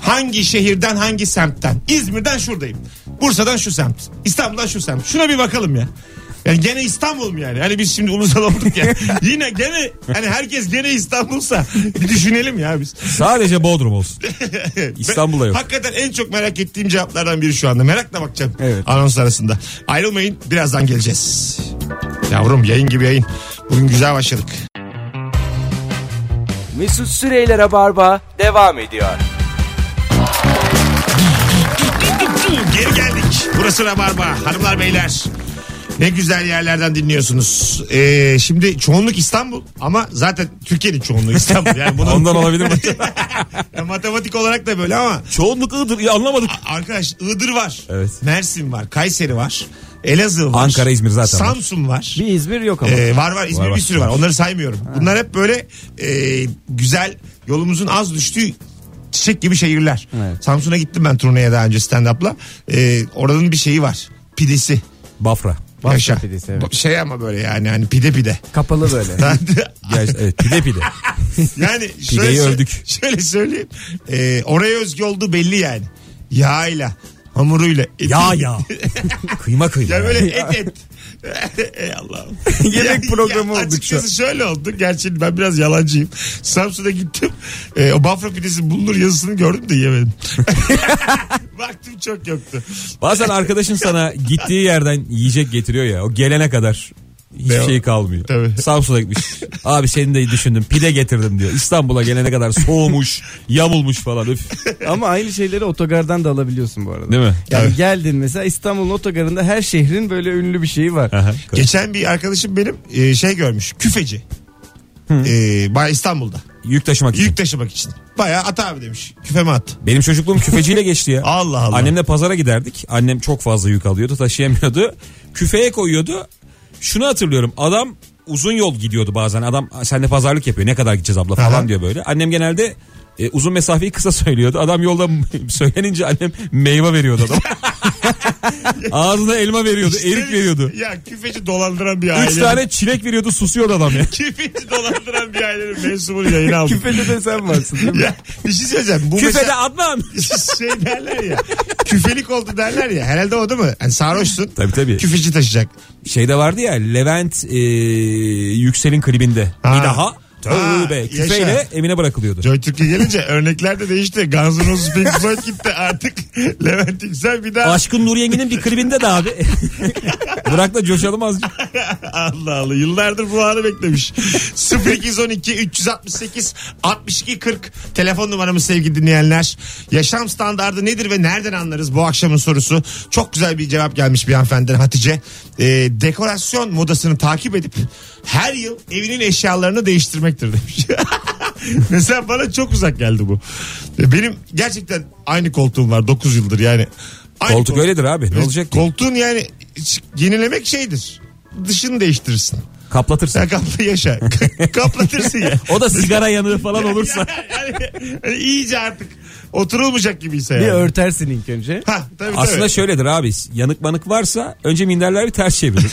[SPEAKER 2] Hangi şehirden hangi semtten? İzmir'den şuradayım. Bursa'dan şu semt. İstanbul'dan şu semt. Şuna bir bakalım ya. Yani gene İstanbul mu yani? Hani biz şimdi ulusal olduk ya. Yine gene hani herkes gene İstanbul'sa bir düşünelim ya biz.
[SPEAKER 3] Sadece Bodrum olsun. İstanbul'da yok.
[SPEAKER 2] Hakikaten en çok merak ettiğim cevaplardan biri şu anda. Merakla bakacağım
[SPEAKER 3] Evet.
[SPEAKER 2] anons arasında. Ayrılmayın birazdan geleceğiz. Yavrum yayın gibi yayın. Bugün güzel başladık.
[SPEAKER 1] Mesut Süreyler'e barba devam ediyor.
[SPEAKER 2] Geri geldik. Burası Rabarba. Hanımlar beyler. Ne güzel yerlerden dinliyorsunuz. Ee, şimdi çoğunluk İstanbul ama zaten Türkiye'nin çoğunluğu İstanbul. Yani bunun
[SPEAKER 3] Ondan olabilir mi?
[SPEAKER 2] matematik olarak da böyle ama
[SPEAKER 3] Çoğunluk Iğdır. Ya anlamadık.
[SPEAKER 2] arkadaş Iğdır var.
[SPEAKER 3] Evet.
[SPEAKER 2] Mersin var. Kayseri var. Elazığ var.
[SPEAKER 3] Ankara, İzmir zaten var.
[SPEAKER 2] Samsun var.
[SPEAKER 4] Bir İzmir yok ama.
[SPEAKER 2] Ee, var var İzmir
[SPEAKER 3] Var, var.
[SPEAKER 2] bir sürü var. Onları saymıyorum. Bunlar hep böyle e, güzel yolumuzun az düştüğü çiçek gibi şehirler.
[SPEAKER 4] Evet.
[SPEAKER 2] Samsun'a gittim ben turneye daha önce stand-up'la. Ee, oranın bir şeyi var. Pidesi.
[SPEAKER 3] Bafra.
[SPEAKER 4] Bafra
[SPEAKER 2] Yaşa.
[SPEAKER 4] pidesi, evet.
[SPEAKER 2] Bu- Şey ama böyle yani hani pide pide.
[SPEAKER 4] Kapalı böyle.
[SPEAKER 3] Gerçi- evet, pide pide.
[SPEAKER 2] yani
[SPEAKER 3] Pideyi
[SPEAKER 2] sö-
[SPEAKER 3] övdük.
[SPEAKER 2] Şöyle söyleyeyim. Ee, oraya özgü olduğu belli yani. Yağıyla, hamuruyla. etiyle.
[SPEAKER 3] Ya ya. kıyma kıyma.
[SPEAKER 2] Ya
[SPEAKER 3] yani.
[SPEAKER 2] böyle et et. Ey Allah'ım.
[SPEAKER 4] Yemek programı olduk
[SPEAKER 2] Açıkçası şöyle oldu. Gerçi ben biraz yalancıyım. Samsun'a gittim. E, o Bafra pidesi bulunur yazısını gördüm de yemedim. Vaktim çok yoktu.
[SPEAKER 3] Bazen arkadaşın sana gittiği yerden yiyecek getiriyor ya. O gelene kadar hiçbir
[SPEAKER 2] Ne o?
[SPEAKER 3] şey kalmıyor.
[SPEAKER 2] Tabii.
[SPEAKER 3] Samsun'a gitmiş. Abi seni de düşündüm. Pide getirdim diyor. İstanbul'a gelene kadar soğumuş, yamulmuş falan. Öf.
[SPEAKER 4] ama aynı şeyleri otogardan da alabiliyorsun bu arada.
[SPEAKER 3] Değil mi?
[SPEAKER 4] Yani
[SPEAKER 2] Tabii.
[SPEAKER 4] geldin mesela İstanbul'un otogarında her şehrin böyle ünlü bir şeyi var.
[SPEAKER 3] Aha.
[SPEAKER 2] Geçen bir arkadaşım benim e, şey görmüş. Küfeci. E, Baya İstanbul'da.
[SPEAKER 3] Yük taşımak için.
[SPEAKER 2] Yük taşımak için. Baya at abi demiş. Küfeme at.
[SPEAKER 3] Benim çocukluğum küfeciyle geçti ya.
[SPEAKER 2] Allah Allah.
[SPEAKER 3] Annemle pazara giderdik. Annem çok fazla yük alıyordu taşıyamıyordu. Küfeye koyuyordu. Şunu hatırlıyorum adam uzun yol gidiyordu bazen. Adam sen de pazarlık yapıyor ne kadar gideceğiz abla falan
[SPEAKER 2] Aha.
[SPEAKER 3] diyor böyle. Annem genelde e, uzun mesafeyi kısa söylüyordu. Adam yolda söylenince annem meyve veriyordu adam. Ağzına elma veriyordu, erik veriyordu.
[SPEAKER 2] Ya küfeci dolandıran bir aile.
[SPEAKER 3] Üç tane çilek veriyordu susuyordu adam ya.
[SPEAKER 2] Küfeci dolandıran bir ailenin mensubunu yayına aldım.
[SPEAKER 4] Küfede de sen varsın değil mi?
[SPEAKER 2] Ya, bir şey söyleyeceğim. Bu mesela-
[SPEAKER 3] Küfede atmam.
[SPEAKER 2] şey derler ya. Küfelik oldu derler ya. Herhalde o değil mi? Hani sarhoşsun.
[SPEAKER 3] Tabii, tabii.
[SPEAKER 2] Küfeci taşıyacak.
[SPEAKER 3] Şeyde vardı ya Levent e, Yüksel'in klibinde.
[SPEAKER 2] Ha.
[SPEAKER 3] Bir daha tövbe
[SPEAKER 2] Ha,
[SPEAKER 3] küfeyle
[SPEAKER 2] yaşa.
[SPEAKER 3] evine bırakılıyordu.
[SPEAKER 2] Joy Türkiye gelince örnekler de değişti. Guns N' Roses Pink Floyd gitti artık. Levent Yüksel bir daha.
[SPEAKER 3] Aşkın Nur Yengi'nin bir klibinde de abi. Bırak da coşalım azıcık.
[SPEAKER 2] Allah Allah. Yıllardır bu anı beklemiş. 0212 368 62 40 telefon numaramız sevgili dinleyenler. Yaşam standardı nedir ve nereden anlarız bu akşamın sorusu? Çok güzel bir cevap gelmiş bir hanımefendiden Hatice. Ee, dekorasyon modasını takip edip her yıl evinin eşyalarını değiştirmektir demiş. Mesela bana çok uzak geldi bu. Benim gerçekten aynı koltuğum var 9 yıldır yani. Aynı
[SPEAKER 3] Koltuk öyledir abi. Ne olacak? ki?
[SPEAKER 2] Koltuğun yani yenilemek şeydir. Dışını değiştirirsin.
[SPEAKER 3] Kaplatırsın.
[SPEAKER 2] Sen kapla yaşa. Kaplatırsın ya.
[SPEAKER 3] O da sigara yanığı falan olursa.
[SPEAKER 2] yani, yani iyice artık oturulmayacak gibiyse yani.
[SPEAKER 4] Bir örtersin ilk önce.
[SPEAKER 2] Ha, tabii,
[SPEAKER 3] Aslında
[SPEAKER 2] tabii.
[SPEAKER 3] şöyledir abi. Yanık manık varsa önce minderler bir ters çevirir.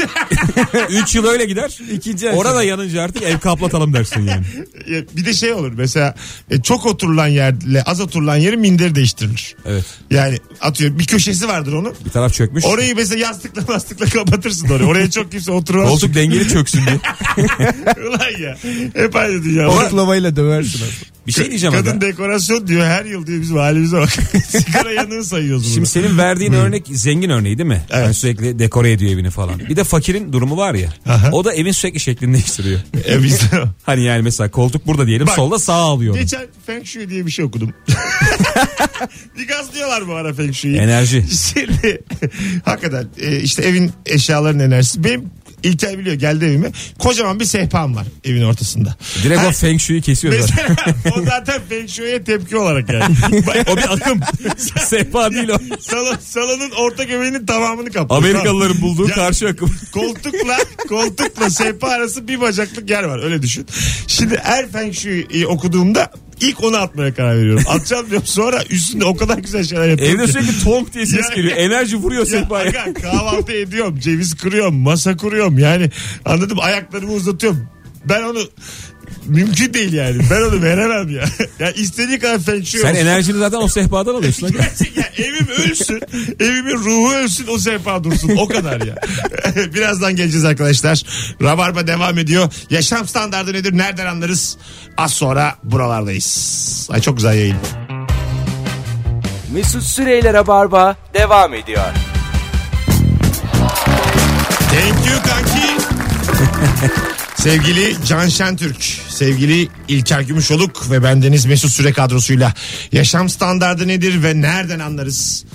[SPEAKER 3] Üç yıl öyle gider.
[SPEAKER 4] İkinci
[SPEAKER 3] Orada yanınca artık ev kaplatalım dersin yani.
[SPEAKER 2] Ya, bir de şey olur mesela e, çok oturulan yerle az oturulan yeri minderi değiştirilir.
[SPEAKER 3] Evet.
[SPEAKER 2] Yani atıyor bir köşesi vardır onun.
[SPEAKER 3] Bir taraf çökmüş.
[SPEAKER 2] Orayı mesela yastıkla bastıkla kapatırsın orayı. Oraya çok kimse oturamaz.
[SPEAKER 3] Koltuk dengeli çöksün diye.
[SPEAKER 2] Ulan ya. Hep aynı dünya. Ulan-
[SPEAKER 4] Oklavayla döversin.
[SPEAKER 3] Bir şey diyeceğim
[SPEAKER 2] Kadın
[SPEAKER 3] aga.
[SPEAKER 2] dekorasyon diyor her yıl diyor bizim halimize bak. Sigara yanığı sayıyoruz bunu.
[SPEAKER 3] Şimdi senin verdiğin örnek zengin örneği değil mi?
[SPEAKER 2] Evet.
[SPEAKER 3] Yani sürekli dekore ediyor evini falan. Bir de fakirin durumu var ya.
[SPEAKER 2] Aha.
[SPEAKER 3] O da evin sürekli şeklini değiştiriyor.
[SPEAKER 2] E biz de-
[SPEAKER 3] Hani yani mesela koltuk burada diyelim
[SPEAKER 2] Bak,
[SPEAKER 3] solda sağ alıyor. onu.
[SPEAKER 2] Geçen Feng Shui diye bir şey okudum. bir gazlıyorlar bu ara Feng Shui'yi.
[SPEAKER 3] Enerji.
[SPEAKER 2] Şimdi hakikaten e, işte evin eşyalarının enerjisi. Benim İlker biliyor geldi evime. Kocaman bir sehpam var evin ortasında.
[SPEAKER 3] Direkt
[SPEAKER 2] Ha,
[SPEAKER 3] o Feng Shui'yi kesiyor zaten.
[SPEAKER 2] Mesela o zaten Feng Shui'ye tepki olarak yani.
[SPEAKER 3] o bir akım. Sehpa değil o.
[SPEAKER 2] Salon, salonun orta göbeğinin tamamını kaplıyor.
[SPEAKER 3] Amerikalıların bulduğu
[SPEAKER 2] Ya-
[SPEAKER 3] karşı akım.
[SPEAKER 2] koltukla koltukla sehpa arası bir bacaklık yer var öyle düşün. Şimdi her Feng Shui'yi okuduğumda ilk onu atmaya karar veriyorum. Atacağım diyorum sonra üstünde o kadar güzel şeyler yapıyorum
[SPEAKER 3] Evde
[SPEAKER 2] ki.
[SPEAKER 3] sürekli tonk diye ses
[SPEAKER 2] Ya-
[SPEAKER 3] geliyor. Enerji vuruyor
[SPEAKER 2] Ya
[SPEAKER 3] sehpaya.
[SPEAKER 2] aga, kahvaltı ediyorum, ceviz kırıyorum, masa kuruyorum. Yani anladım ayaklarımı uzatıyorum. Ben onu Mümkün değil yani. Ben onu veremem ya. ya istediği kadar feng shui
[SPEAKER 3] Sen
[SPEAKER 2] olsun.
[SPEAKER 3] enerjini zaten o sehpadan alıyorsun. lan.
[SPEAKER 2] Gerçek ya evim ölsün. Evimin ruhu ölsün o sefa dursun. O kadar ya. Birazdan geleceğiz arkadaşlar. Rabarba devam ediyor. Yaşam standardı nedir? Nereden anlarız? Az sonra buralardayız. Ay çok güzel yayın.
[SPEAKER 1] Mesut Süreyler'e barba devam ediyor.
[SPEAKER 2] Thank you kanki. Sevgili Can Şentürk, sevgili İlker Gümüşoluk ve bendeniz Mesut Süre kadrosuyla yaşam standardı nedir ve nereden anlarız?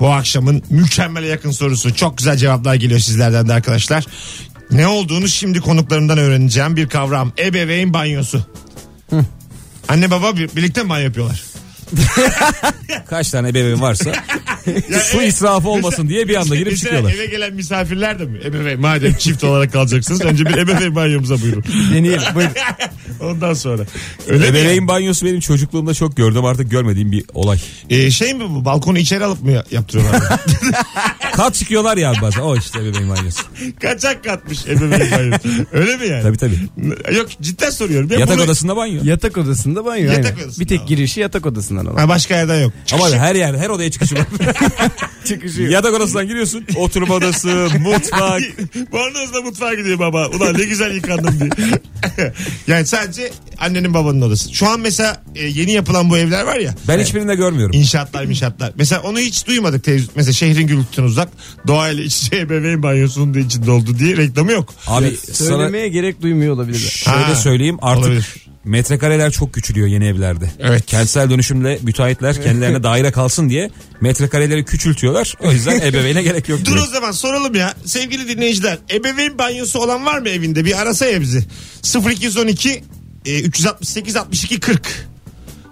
[SPEAKER 2] Bu akşamın mükemmele yakın sorusu. Çok güzel cevaplar geliyor sizlerden de arkadaşlar. Ne olduğunu şimdi konuklarımdan öğreneceğim bir kavram. Ebeveyn banyosu. Anne baba bir- birlikte mi banyo yapıyorlar?
[SPEAKER 3] Kaç tane bebeğin varsa su
[SPEAKER 2] evet.
[SPEAKER 3] israfı olmasın diye bir anda girip
[SPEAKER 2] e- Mesela
[SPEAKER 3] çıkıyorlar.
[SPEAKER 2] eve gelen misafirler de mi? Ebeveyn madem çift olarak kalacaksınız önce bir ebeveyn banyomuza buyurun.
[SPEAKER 4] Deneyelim. Buyurun.
[SPEAKER 2] Ondan sonra. Öyle mi?
[SPEAKER 3] Ebeveyn banyosu benim çocukluğumda çok gördüm artık görmediğim bir olay.
[SPEAKER 2] Ee, şey mi bu balkonu içeri alıp mı ya- yaptırıyorlar?
[SPEAKER 3] Kat çıkıyorlar ya bazen. O işte ebeveyn banyosu.
[SPEAKER 2] Kaçak katmış ebeveyn banyosu. Öyle mi yani?
[SPEAKER 3] Tabii tabii.
[SPEAKER 2] Yok cidden soruyorum. Ya
[SPEAKER 3] Yatak
[SPEAKER 2] bunu-
[SPEAKER 3] odasında banyo.
[SPEAKER 4] Yatak odasında banyo.
[SPEAKER 2] Yatak
[SPEAKER 4] aynen.
[SPEAKER 2] odasında
[SPEAKER 4] bir tek
[SPEAKER 2] ama.
[SPEAKER 4] girişi yatak odasından olan.
[SPEAKER 2] Ha, başka yerden yok.
[SPEAKER 3] Ama her yer her odaya çıkışı var.
[SPEAKER 4] Çıkışı yok.
[SPEAKER 3] Yatak odasından giriyorsun. Oturma odası, mutfak.
[SPEAKER 2] Bornozla mutfağa gidiyor baba. Ulan ne güzel yıkandım diye. yani sadece annenin babanın odası. Şu an mesela e, yeni yapılan bu evler var ya.
[SPEAKER 3] Ben hiçbirinde görmüyorum.
[SPEAKER 2] İnşaatlar inşaatlar. Mesela onu hiç duymadık. televiz- Mesela şehrin gürültüsünden uzak. Doğayla iç içe ebeveyn banyosunun da içinde oldu diye reklamı yok.
[SPEAKER 3] Abi sana
[SPEAKER 4] Söylemeye gerek duymuyor olabilir.
[SPEAKER 3] şöyle
[SPEAKER 2] Ha,
[SPEAKER 3] söyleyeyim artık
[SPEAKER 2] olabilir.
[SPEAKER 3] metrekareler çok küçülüyor yeni evlerde.
[SPEAKER 2] Evet.
[SPEAKER 3] Kentsel dönüşümle müteahhitler kendilerine daire kalsın diye metrekareleri küçültüyorlar. O yüzden ebeveyne gerek yok.
[SPEAKER 2] Dur
[SPEAKER 3] diyor.
[SPEAKER 2] o zaman soralım ya. Sevgili dinleyiciler ebeveyn banyosu olan var mı evinde? Bir arasa ya bizi. 0212 e, 368 62 40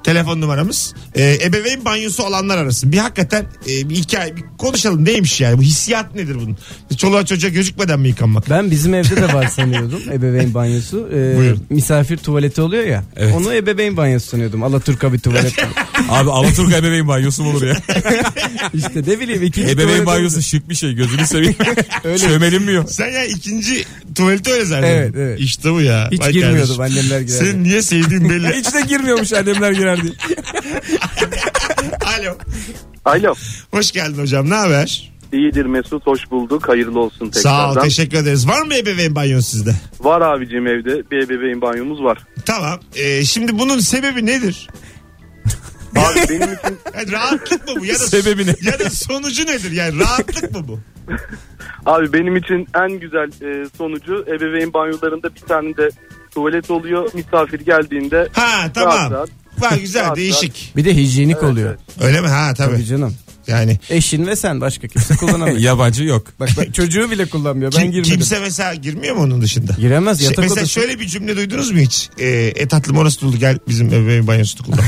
[SPEAKER 2] telefon numaramız. E, ebeveyn banyosu olanlar arasın. Bir hakikaten e, bir hikaye bir konuşalım neymiş yani bu hissiyat nedir bunun? Çoluğa çocuğa gözükmeden mi yıkanmak?
[SPEAKER 4] Ben bizim evde de var sanıyordum ebeveyn banyosu. Ee,
[SPEAKER 2] Buyurun.
[SPEAKER 4] misafir tuvaleti oluyor ya.
[SPEAKER 3] Evet.
[SPEAKER 4] Onu ebeveyn banyosu sanıyordum. Alaturka bir tuvalet.
[SPEAKER 3] Abi Alaturka ebeveyn banyosu mu olur ya?
[SPEAKER 4] işte ne bileyim ikinci
[SPEAKER 3] ebeveyn
[SPEAKER 4] tuvalet
[SPEAKER 3] banyosu şık bir şey gözünü seveyim. Çömelinmiyor.
[SPEAKER 2] Sen ya ikinci tuvalete öyle zaten.
[SPEAKER 4] Evet, evet.
[SPEAKER 2] İşte bu ya.
[SPEAKER 4] Hiç
[SPEAKER 2] Vay
[SPEAKER 4] girmiyordum
[SPEAKER 2] kardeşim.
[SPEAKER 4] annemler girerdi.
[SPEAKER 2] Senin niye sevdiğin belli.
[SPEAKER 3] Hiç de girmiyormuş annemler girerdi.
[SPEAKER 2] Alo.
[SPEAKER 7] Alo.
[SPEAKER 2] Hoş geldin hocam. Ne haber?
[SPEAKER 7] İyidir Mesut hoş bulduk. Hayırlı olsun
[SPEAKER 2] Sağ
[SPEAKER 7] tekrardan.
[SPEAKER 2] ol. Teşekkür ederiz. Var mı ebeveyn banyosu sizde?
[SPEAKER 7] Var abicim evde bir ebeveyn banyomuz var.
[SPEAKER 2] Tamam. Ee, şimdi bunun sebebi nedir?
[SPEAKER 7] Abi benim için
[SPEAKER 2] Yani rahatlık mı bu? Ya da
[SPEAKER 3] Sebebi ne?
[SPEAKER 2] Ya da sonucu nedir? Yani rahatlık mı bu?
[SPEAKER 7] abi benim için en güzel e, sonucu ebeveyn banyolarında bir tane de tuvalet oluyor. Misafir geldiğinde
[SPEAKER 2] Ha tamam.
[SPEAKER 7] Rahat, rahat.
[SPEAKER 2] Var güzel
[SPEAKER 7] Rahat,
[SPEAKER 2] değişik.
[SPEAKER 4] Bir de hijyenik oluyor.
[SPEAKER 2] Öyle mi? Ha tabii.
[SPEAKER 4] Tabii canım.
[SPEAKER 2] Yani
[SPEAKER 4] Eşin ve sen başka kimse kullanamıyor.
[SPEAKER 3] Yabancı yok.
[SPEAKER 4] bak, bak çocuğu bile kullanmıyor. Ben
[SPEAKER 2] kim-
[SPEAKER 4] girmedim.
[SPEAKER 2] kimse mesela girmiyor mu onun dışında?
[SPEAKER 4] Giremez
[SPEAKER 2] Şey,
[SPEAKER 4] yatak
[SPEAKER 2] mesela
[SPEAKER 4] odası.
[SPEAKER 2] şöyle bir cümle duydunuz mu hiç? Ee, e tatlım orası dolu gel bizim ebeveyn banyosunu kullan.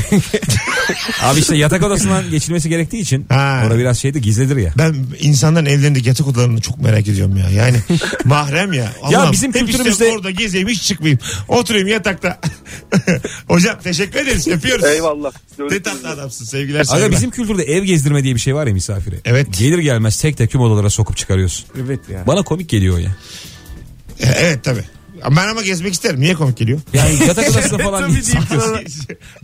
[SPEAKER 3] Abi işte yatak odasından geçilmesi gerektiği için
[SPEAKER 2] Ha.
[SPEAKER 3] orada biraz şeydi gizlidir ya.
[SPEAKER 2] ben insanların evlerindeki yatak odalarını çok merak ediyorum ya. Yani mahrem ya. Allah'ım,
[SPEAKER 3] bizim
[SPEAKER 2] hep istiyorum
[SPEAKER 3] kültürümüzde-
[SPEAKER 2] orada gezeyim hiç çıkmayayım. Oturayım yatakta. Hocam teşekkür ederiz. Yapıyoruz.
[SPEAKER 7] eyvallah.
[SPEAKER 2] Ne
[SPEAKER 7] Görüşürüz.
[SPEAKER 2] tatlı adamsın sevgiler. saygılar.
[SPEAKER 3] Aga bizim kültürde ev gezdirme diye bir şey var ya misafire.
[SPEAKER 2] Şey Evet.
[SPEAKER 3] Gelir gelmez tek tek tüm odalara sokup çıkarıyorsun.
[SPEAKER 4] Evet ya.
[SPEAKER 3] Bana komik geliyor o ya.
[SPEAKER 2] E, Evet tabii. Ben ama gezmek isterim. Niye komik geliyor?
[SPEAKER 3] Yani yatak odasında falan niye sokuyorsun?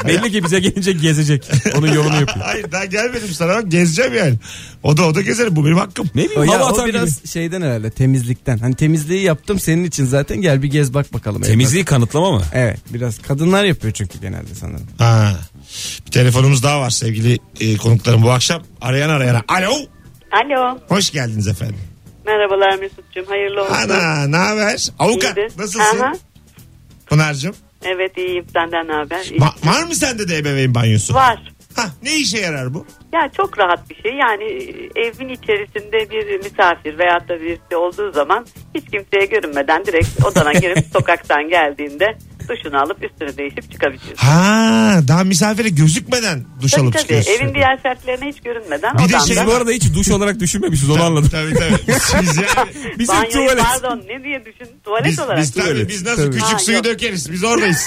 [SPEAKER 3] Belli ki bize gelince gezecek. Onun yolunu yapıyor.
[SPEAKER 2] Hayır daha gelmedim sana bak gezeceğim yani. O da o da gezerim bu benim hakkım.
[SPEAKER 3] Ne
[SPEAKER 4] O,
[SPEAKER 3] bileyim
[SPEAKER 4] ya,
[SPEAKER 3] hava
[SPEAKER 4] o
[SPEAKER 3] atar
[SPEAKER 4] biraz
[SPEAKER 3] gibi.
[SPEAKER 4] şeyden herhalde temizlikten. Hani temizliği yaptım senin için zaten gel bir gez bak bakalım. evden.
[SPEAKER 3] Temizliği kanıtlama mı?
[SPEAKER 4] Evet biraz kadınlar yapıyor çünkü genelde sanırım.
[SPEAKER 2] Ha. Bir telefonumuz daha var sevgili e, konuklarım bu akşam. Arayan arayana. Alo.
[SPEAKER 8] Alo.
[SPEAKER 2] Hoş geldiniz efendim.
[SPEAKER 8] Merhabalar Mesut'cum. Hayırlı olsun.
[SPEAKER 2] Ana ne haber? Avukat
[SPEAKER 8] İyidir.
[SPEAKER 2] nasılsın?
[SPEAKER 8] Aha.
[SPEAKER 2] Pınar'cığım.
[SPEAKER 8] Evet iyiyim. Senden ne haber? İyi.
[SPEAKER 2] Va- var mı sende de ebeveyn banyosu?
[SPEAKER 8] Var.
[SPEAKER 2] Ha, ne işe yarar bu?
[SPEAKER 8] Ya çok rahat bir şey. Yani e, evin içerisinde bir misafir veyahut da birisi olduğu zaman hiç kimseye görünmeden direkt odana girip sokaktan geldiğinde duşunu alıp üstünü değişip çıkabiliyorsun.
[SPEAKER 2] Ha daha misafire gözükmeden duş
[SPEAKER 8] Tabii
[SPEAKER 2] alıp
[SPEAKER 8] tabii.
[SPEAKER 2] çıkıyorsun.
[SPEAKER 8] Evin diğer şartlarına hiç görünmeden
[SPEAKER 2] Bir de
[SPEAKER 8] odanda.
[SPEAKER 2] şey
[SPEAKER 3] Siz bu arada hiç duş olarak düşünmemişsiniz onu anladım.
[SPEAKER 2] Tabii tabii. Siz yani
[SPEAKER 3] Bizim
[SPEAKER 8] Banyoyu
[SPEAKER 3] tuvalet.
[SPEAKER 8] pardon ne diye düşün tuvalet
[SPEAKER 2] biz,
[SPEAKER 8] olarak.
[SPEAKER 2] biz, tabii, biz nasıl
[SPEAKER 4] Tabii.
[SPEAKER 2] küçük
[SPEAKER 8] Ha,
[SPEAKER 2] suyu
[SPEAKER 8] yok.
[SPEAKER 2] dökeriz biz oradayız.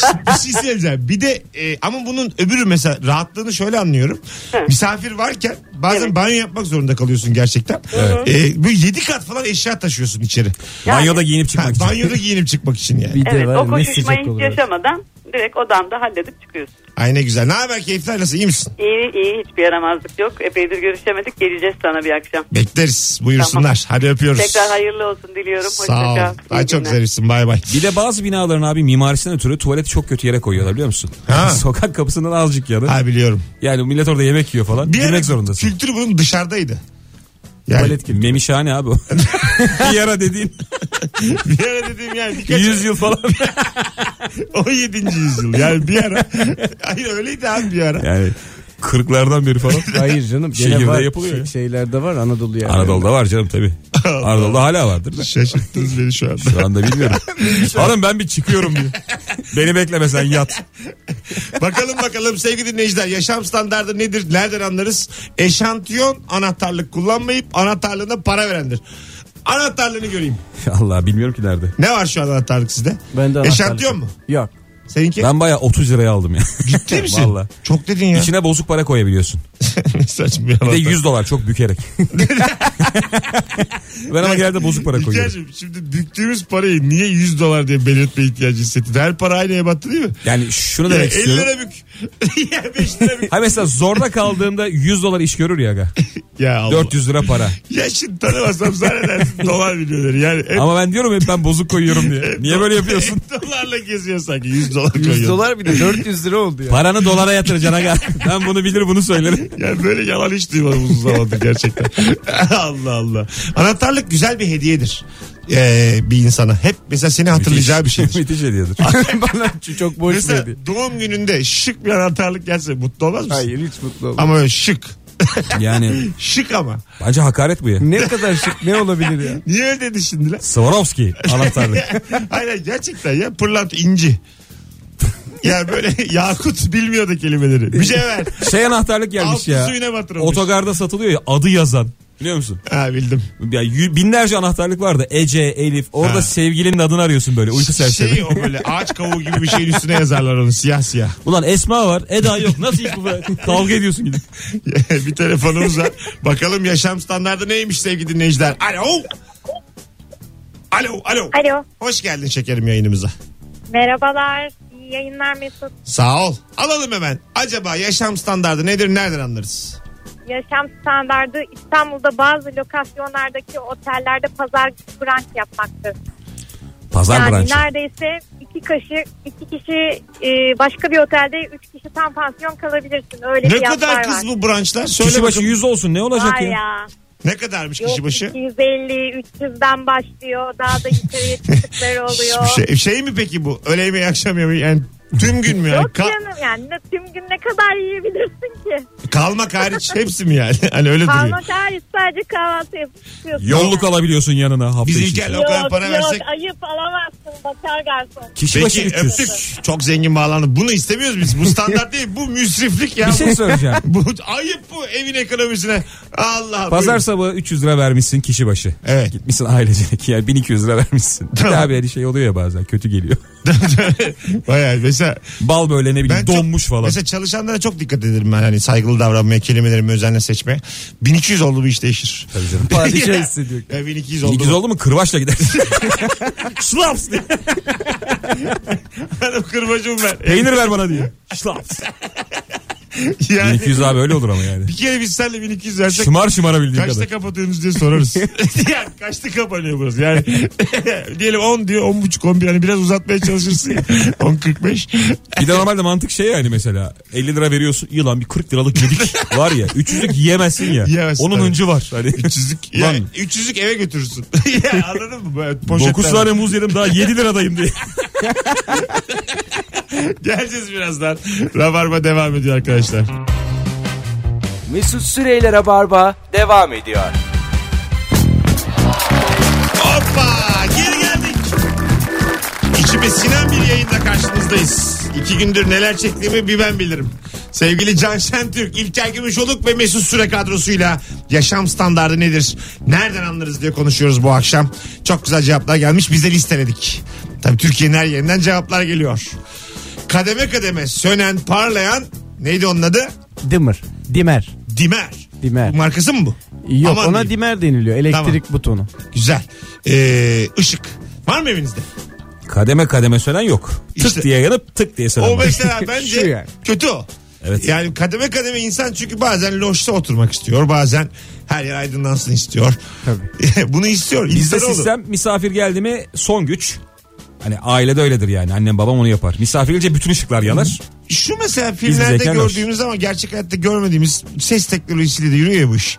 [SPEAKER 2] Şimdi bir şey söyleyeceğim. Bir de e, ama bunun öbürü mesela rahatlığını şöyle anlıyorum. Misafir varken bazen
[SPEAKER 5] Evet.
[SPEAKER 2] banyo yapmak zorunda kalıyorsun gerçekten.
[SPEAKER 3] Evet.
[SPEAKER 2] Ee, böyle 7 kat falan eşya taşıyorsun içeri.
[SPEAKER 3] Banyoda giyinip
[SPEAKER 2] Ha,
[SPEAKER 3] çıkmak için.
[SPEAKER 2] banyoda giyinip çıkmak için yani.
[SPEAKER 4] Bir de
[SPEAKER 8] Evet
[SPEAKER 4] var,
[SPEAKER 8] o
[SPEAKER 4] ne
[SPEAKER 8] koşuşmayı
[SPEAKER 4] sıcak
[SPEAKER 8] hiç
[SPEAKER 4] olur.
[SPEAKER 8] yaşamadan direkt odamda halledip çıkıyorsun.
[SPEAKER 2] Ay ne güzel. Ne haber keyifler nasıl iyi misin?
[SPEAKER 8] İyi iyi hiçbir yaramazlık yok. Epeydir görüşemedik geleceğiz sana bir akşam.
[SPEAKER 2] Bekleriz buyursunlar. Hadi öpüyoruz.
[SPEAKER 8] Tekrar hayırlı olsun diliyorum.
[SPEAKER 2] Sağ
[SPEAKER 8] Hoşça kal.
[SPEAKER 2] ol. Ay
[SPEAKER 8] İyi
[SPEAKER 2] çok
[SPEAKER 8] günler.
[SPEAKER 2] güzelsin bay bay.
[SPEAKER 3] Bir de bazı binaların abi mimarisinden ötürü tuvaleti çok kötü yere koyuyorlar biliyor musun?
[SPEAKER 2] Ha.
[SPEAKER 3] Sokak kapısından azıcık yana.
[SPEAKER 2] Ha biliyorum.
[SPEAKER 3] Yani millet orada yemek yiyor falan.
[SPEAKER 2] Bir ara
[SPEAKER 3] Girmek zorundasın.
[SPEAKER 2] kültürü bunun dışarıdaydı. Yani
[SPEAKER 3] Tuvalet gibi. Memişhane abi o. bir ara dediğin
[SPEAKER 2] bir ara dediğim yani birkaç
[SPEAKER 3] 100 yıl falan.
[SPEAKER 2] 17. yüzyıl. Yani bir ara. Hayır öyleydi abi bir ara.
[SPEAKER 3] Yani kırklardan beri falan.
[SPEAKER 4] Hayır canım. Gene
[SPEAKER 3] Şehirde
[SPEAKER 4] var,
[SPEAKER 3] yapılıyor
[SPEAKER 4] şey-
[SPEAKER 3] ya.
[SPEAKER 4] şeylerde var Anadolu yani.
[SPEAKER 3] Anadolu'da var canım tabii. Anadolu'da hala vardır. da.
[SPEAKER 2] Şaşırttınız beni şu anda.
[SPEAKER 3] Şu anda bilmiyorum. Oğlum ben bir çıkıyorum diyor. Beni bekleme sen yat.
[SPEAKER 2] bakalım bakalım sevgili dinleyiciler yaşam standardı nedir? Nereden anlarız? Eşantiyon anahtarlık kullanmayıp anahtarlığına para verendir. Anahtarlığını göreyim.
[SPEAKER 3] Allah bilmiyorum ki nerede.
[SPEAKER 2] Ne var şu an anahtarlık sizde?
[SPEAKER 4] Ben de
[SPEAKER 2] Eşantiyon
[SPEAKER 4] anahtarlık-
[SPEAKER 2] mu?
[SPEAKER 4] Yok.
[SPEAKER 2] Seninki?
[SPEAKER 3] Ben bayağı 30 liraya aldım ya.
[SPEAKER 2] Ciddi misin?
[SPEAKER 3] Valla.
[SPEAKER 2] Çok dedin ya.
[SPEAKER 3] İçine bozuk para koyabiliyorsun.
[SPEAKER 2] Ne saçma bir
[SPEAKER 3] Bir de
[SPEAKER 2] anahtar.
[SPEAKER 3] 100 dolar çok bükerek. ben ama genelde bozuk para koyuyorum.
[SPEAKER 2] İlker'cim, şimdi büktüğümüz parayı niye 100 dolar diye belirtme ihtiyacı hissettin? Her para aynı ebattı değil mi?
[SPEAKER 3] Yani şunu
[SPEAKER 2] Ya
[SPEAKER 3] demek
[SPEAKER 2] 50
[SPEAKER 3] istiyorum.
[SPEAKER 2] lira bük. ya 5 lira bük.
[SPEAKER 3] Ha mesela zorda kaldığımda 100 dolar iş görür ya aga.
[SPEAKER 2] ya Allah.
[SPEAKER 3] 400 lira para.
[SPEAKER 2] Ya şimdi tanımasam zannedersin dolar milyoneri. Yani hep,
[SPEAKER 3] Ama ben diyorum hep ben bozuk koyuyorum diye. Niye böyle yapıyorsun?
[SPEAKER 2] hep dolarla geziyor sanki 100 dolar koyuyor.
[SPEAKER 4] 100 dolar bir de 400 lira oldu ya.
[SPEAKER 3] Paranı dolara yatıracaksın aga. Ben bunu bilir bunu söylerim.
[SPEAKER 2] Yani böyle yalan hiç duymadım uzun zamandır gerçekten. Allah Allah. Anahtarlık güzel bir hediyedir. Ee, bir insana. Hep mesela seni hatırlayacağı bir şeydir.
[SPEAKER 3] Müthiş hediyedir.
[SPEAKER 4] Bana çok boş
[SPEAKER 2] mesela
[SPEAKER 4] verdi.
[SPEAKER 2] doğum gününde şık bir anahtarlık gelse mutlu olmaz mısın?
[SPEAKER 4] Hayır hiç mutlu olmadım.
[SPEAKER 2] Ama öyle şık.
[SPEAKER 3] Yani
[SPEAKER 2] Şık ama.
[SPEAKER 3] bence hakaret bu ya.
[SPEAKER 4] Ne kadar şık ne olabilir ya?
[SPEAKER 2] Niye öyle dedi şimdi lan?
[SPEAKER 3] Swarovski anahtarlık.
[SPEAKER 2] Aynen gerçekten ya pırlanta inci. Yani böyle Yakut bilmiyordu kelimeleri. Mücevher.
[SPEAKER 3] Şey anahtarlık gelmiş
[SPEAKER 2] Altın
[SPEAKER 3] ya.
[SPEAKER 2] suyuna batırılmış.
[SPEAKER 3] Otogarda satılıyor ya adı yazan. Biliyor musun?
[SPEAKER 2] Ha bildim.
[SPEAKER 3] Ya yü- binlerce anahtarlık vardı. Ece, Elif. Orada
[SPEAKER 2] Ha.
[SPEAKER 3] sevgilinin adını arıyorsun böyle uyku serseri.
[SPEAKER 2] Şey o böyle ağaç kavuğu gibi bir şeyin üstüne yazarlar onu siyah siyah.
[SPEAKER 3] Ulan Esma var. Eda yok. Nasıl iş bu? be? Kavga ediyorsun gidip.
[SPEAKER 2] bir telefonumuz var. Bakalım yaşam standardı neymiş sevgili dinleyiciler. Alo. Alo, alo.
[SPEAKER 5] Alo.
[SPEAKER 2] Hoş geldin şekerim yayınımıza.
[SPEAKER 5] Merhabalar. İyi yayınlar Mesut.
[SPEAKER 2] Sağ ol. Alalım hemen. Acaba yaşam standardı nedir? Nereden anlarız?
[SPEAKER 5] Yaşam standardı İstanbul'da bazı lokasyonlardaki otellerde pazar brunch yapmaktır.
[SPEAKER 3] Pazar
[SPEAKER 5] yani
[SPEAKER 3] branşı.
[SPEAKER 5] neredeyse iki kaşı, iki kişi e, başka bir otelde üç kişi tam pansiyon kalabilirsin. Öyle
[SPEAKER 2] Ne
[SPEAKER 5] bir
[SPEAKER 2] kadar kız
[SPEAKER 5] var.
[SPEAKER 2] bu branşlar? Söyle
[SPEAKER 3] Kişi başı
[SPEAKER 2] bakalım.
[SPEAKER 3] 100 olsun ne olacak
[SPEAKER 5] Var
[SPEAKER 3] ya?
[SPEAKER 5] ya.
[SPEAKER 2] Ne kadarmış
[SPEAKER 5] Yok,
[SPEAKER 2] kişi başı?
[SPEAKER 5] 250, 300'den başlıyor. Daha da yukarıya çıktıkları oluyor.
[SPEAKER 2] Şey, şey mi peki bu? Öğle yemeği akşam yemeği yani tüm gün mü yani?
[SPEAKER 5] Yok
[SPEAKER 2] Ka-
[SPEAKER 5] canım yani ne- tüm gün ne kadar yiyebilirsin ki?
[SPEAKER 2] kalmak hariç hepsi mi yani? Hani öyle duruyor.
[SPEAKER 5] Parmak hariç sadece kahvaltı yapıp çıkıyorsun.
[SPEAKER 3] Yolluk alabiliyorsun yanına hafta
[SPEAKER 2] Biz
[SPEAKER 3] içi.
[SPEAKER 2] İlker'le o
[SPEAKER 5] Yok
[SPEAKER 2] kadar para
[SPEAKER 5] yok
[SPEAKER 2] versek.
[SPEAKER 5] ayıp alamazsın bakar garson.
[SPEAKER 3] Kişi başı
[SPEAKER 2] Peki
[SPEAKER 3] 300.
[SPEAKER 2] öptük. Çok zengin bağlandı. Bunu istemiyoruz biz. Bu standart değil. Bu müsriflik ya.
[SPEAKER 3] Bir şey söyleyeceğim.
[SPEAKER 2] Bu ayıp bu evin ekonomisine. Allah
[SPEAKER 3] Pazar
[SPEAKER 2] buyurun.
[SPEAKER 3] sabahı 300 lira vermişsin kişi başı.
[SPEAKER 2] Evet.
[SPEAKER 3] Gitmişsin ailecek yani 1200 lira vermişsin. Bir de
[SPEAKER 2] Tamam.
[SPEAKER 3] abi hani şey oluyor ya bazen kötü geliyor.
[SPEAKER 2] Bayağı mesela
[SPEAKER 3] Bal böyle ne bileyim
[SPEAKER 2] ben
[SPEAKER 3] donmuş
[SPEAKER 2] çok,
[SPEAKER 3] falan.
[SPEAKER 2] Mesela çalışanlara çok dikkat ederim ben hani saygılı davranmaya, kelimelerimi özenle seçmeye. 1200 oldu bu iş değişir.
[SPEAKER 3] Tabii canım.
[SPEAKER 4] Padişah hissediyor.
[SPEAKER 2] Ya 1200 oldu.
[SPEAKER 3] 1200 oldu mu kırbaçla gidersin. Şlaps diye.
[SPEAKER 2] Hanım kırbacım ben.
[SPEAKER 3] Peynir ver bana diye. Şlaps.
[SPEAKER 2] Yani
[SPEAKER 3] 1200 abi öyle olur ama yani.
[SPEAKER 2] bir kere biz seninle 1200 versek
[SPEAKER 3] Şımar şımara bildiğin
[SPEAKER 2] kaçta
[SPEAKER 3] kadar.
[SPEAKER 2] kapatıyorsunuz diye sorarız. yani kaçta kapanıyor burası? Yani diyelim 10 diyor 10 buçuk 11 hani biraz uzatmaya çalışırsın ya. 10.45.
[SPEAKER 3] Bir de normalde mantık şey yani mesela 50 lira veriyorsun. İyi lan bir 40 liralık yedik var ya. 300'lük yiyemezsin ya.
[SPEAKER 2] Yiyemezsin
[SPEAKER 3] Onun
[SPEAKER 2] tabii.
[SPEAKER 3] hıncı var. Hani
[SPEAKER 2] 300'lük
[SPEAKER 3] Lan-
[SPEAKER 2] yani 300'lük eve götürürsün. ya anladın mı? Böyle poşetler.
[SPEAKER 3] 9 tane muz yedim daha 7 liradayım diye.
[SPEAKER 2] Geleceğiz birazdan. Rabarba devam ediyor arkadaşlar.
[SPEAKER 1] Mesut Süreyler'e barba devam ediyor.
[SPEAKER 2] Hoppa geri geldik. İçime sinen bir yayında karşınızdayız. İki gündür neler çektiğimi bir ben bilirim. Sevgili Can Şentürk, İlker Gümüşoluk ve Mesut Süre kadrosuyla yaşam standardı nedir? Nereden anlarız diye konuşuyoruz bu akşam. Çok güzel cevaplar gelmiş. Biz de listeledik. Tabii Türkiye'nin her yerinden cevaplar geliyor. Kademe kademe sönen, parlayan neydi onun adı?
[SPEAKER 4] Dimmer. Dimer.
[SPEAKER 2] Dimer.
[SPEAKER 4] Dimer.
[SPEAKER 2] Markası mı bu?
[SPEAKER 4] Yok
[SPEAKER 2] Aman
[SPEAKER 4] ona
[SPEAKER 2] diyeyim.
[SPEAKER 4] dimer deniliyor. Elektrik butonu.
[SPEAKER 2] Güzel. Ee, ışık. Var mı evinizde?
[SPEAKER 3] Kademe kademe sönen yok. Tık
[SPEAKER 2] İşte-
[SPEAKER 3] diye yanıp tık diye sönen
[SPEAKER 2] O
[SPEAKER 3] var.
[SPEAKER 2] mesela
[SPEAKER 4] Şu
[SPEAKER 2] bence
[SPEAKER 4] yani.
[SPEAKER 2] kötü o.
[SPEAKER 3] Evet.
[SPEAKER 2] Yani kademe kademe insan çünkü bazen loşta oturmak istiyor. Bazen her yer aydınlansın istiyor. Tabii. Bunu istiyor.
[SPEAKER 3] Bizde
[SPEAKER 2] İnsanoğlu.
[SPEAKER 3] sistem misafir geldi mi son güç. Hani ailede öyledir yani. Annem babam onu yapar. Misafir gelince bütün ışıklar yanar.
[SPEAKER 2] Şu mesela
[SPEAKER 3] Bizde
[SPEAKER 2] filmlerde
[SPEAKER 3] zeka
[SPEAKER 2] gördüğümüz ama gerçek hayatta görmediğimiz ses teknolojisiyle de yürüyor ya bu iş.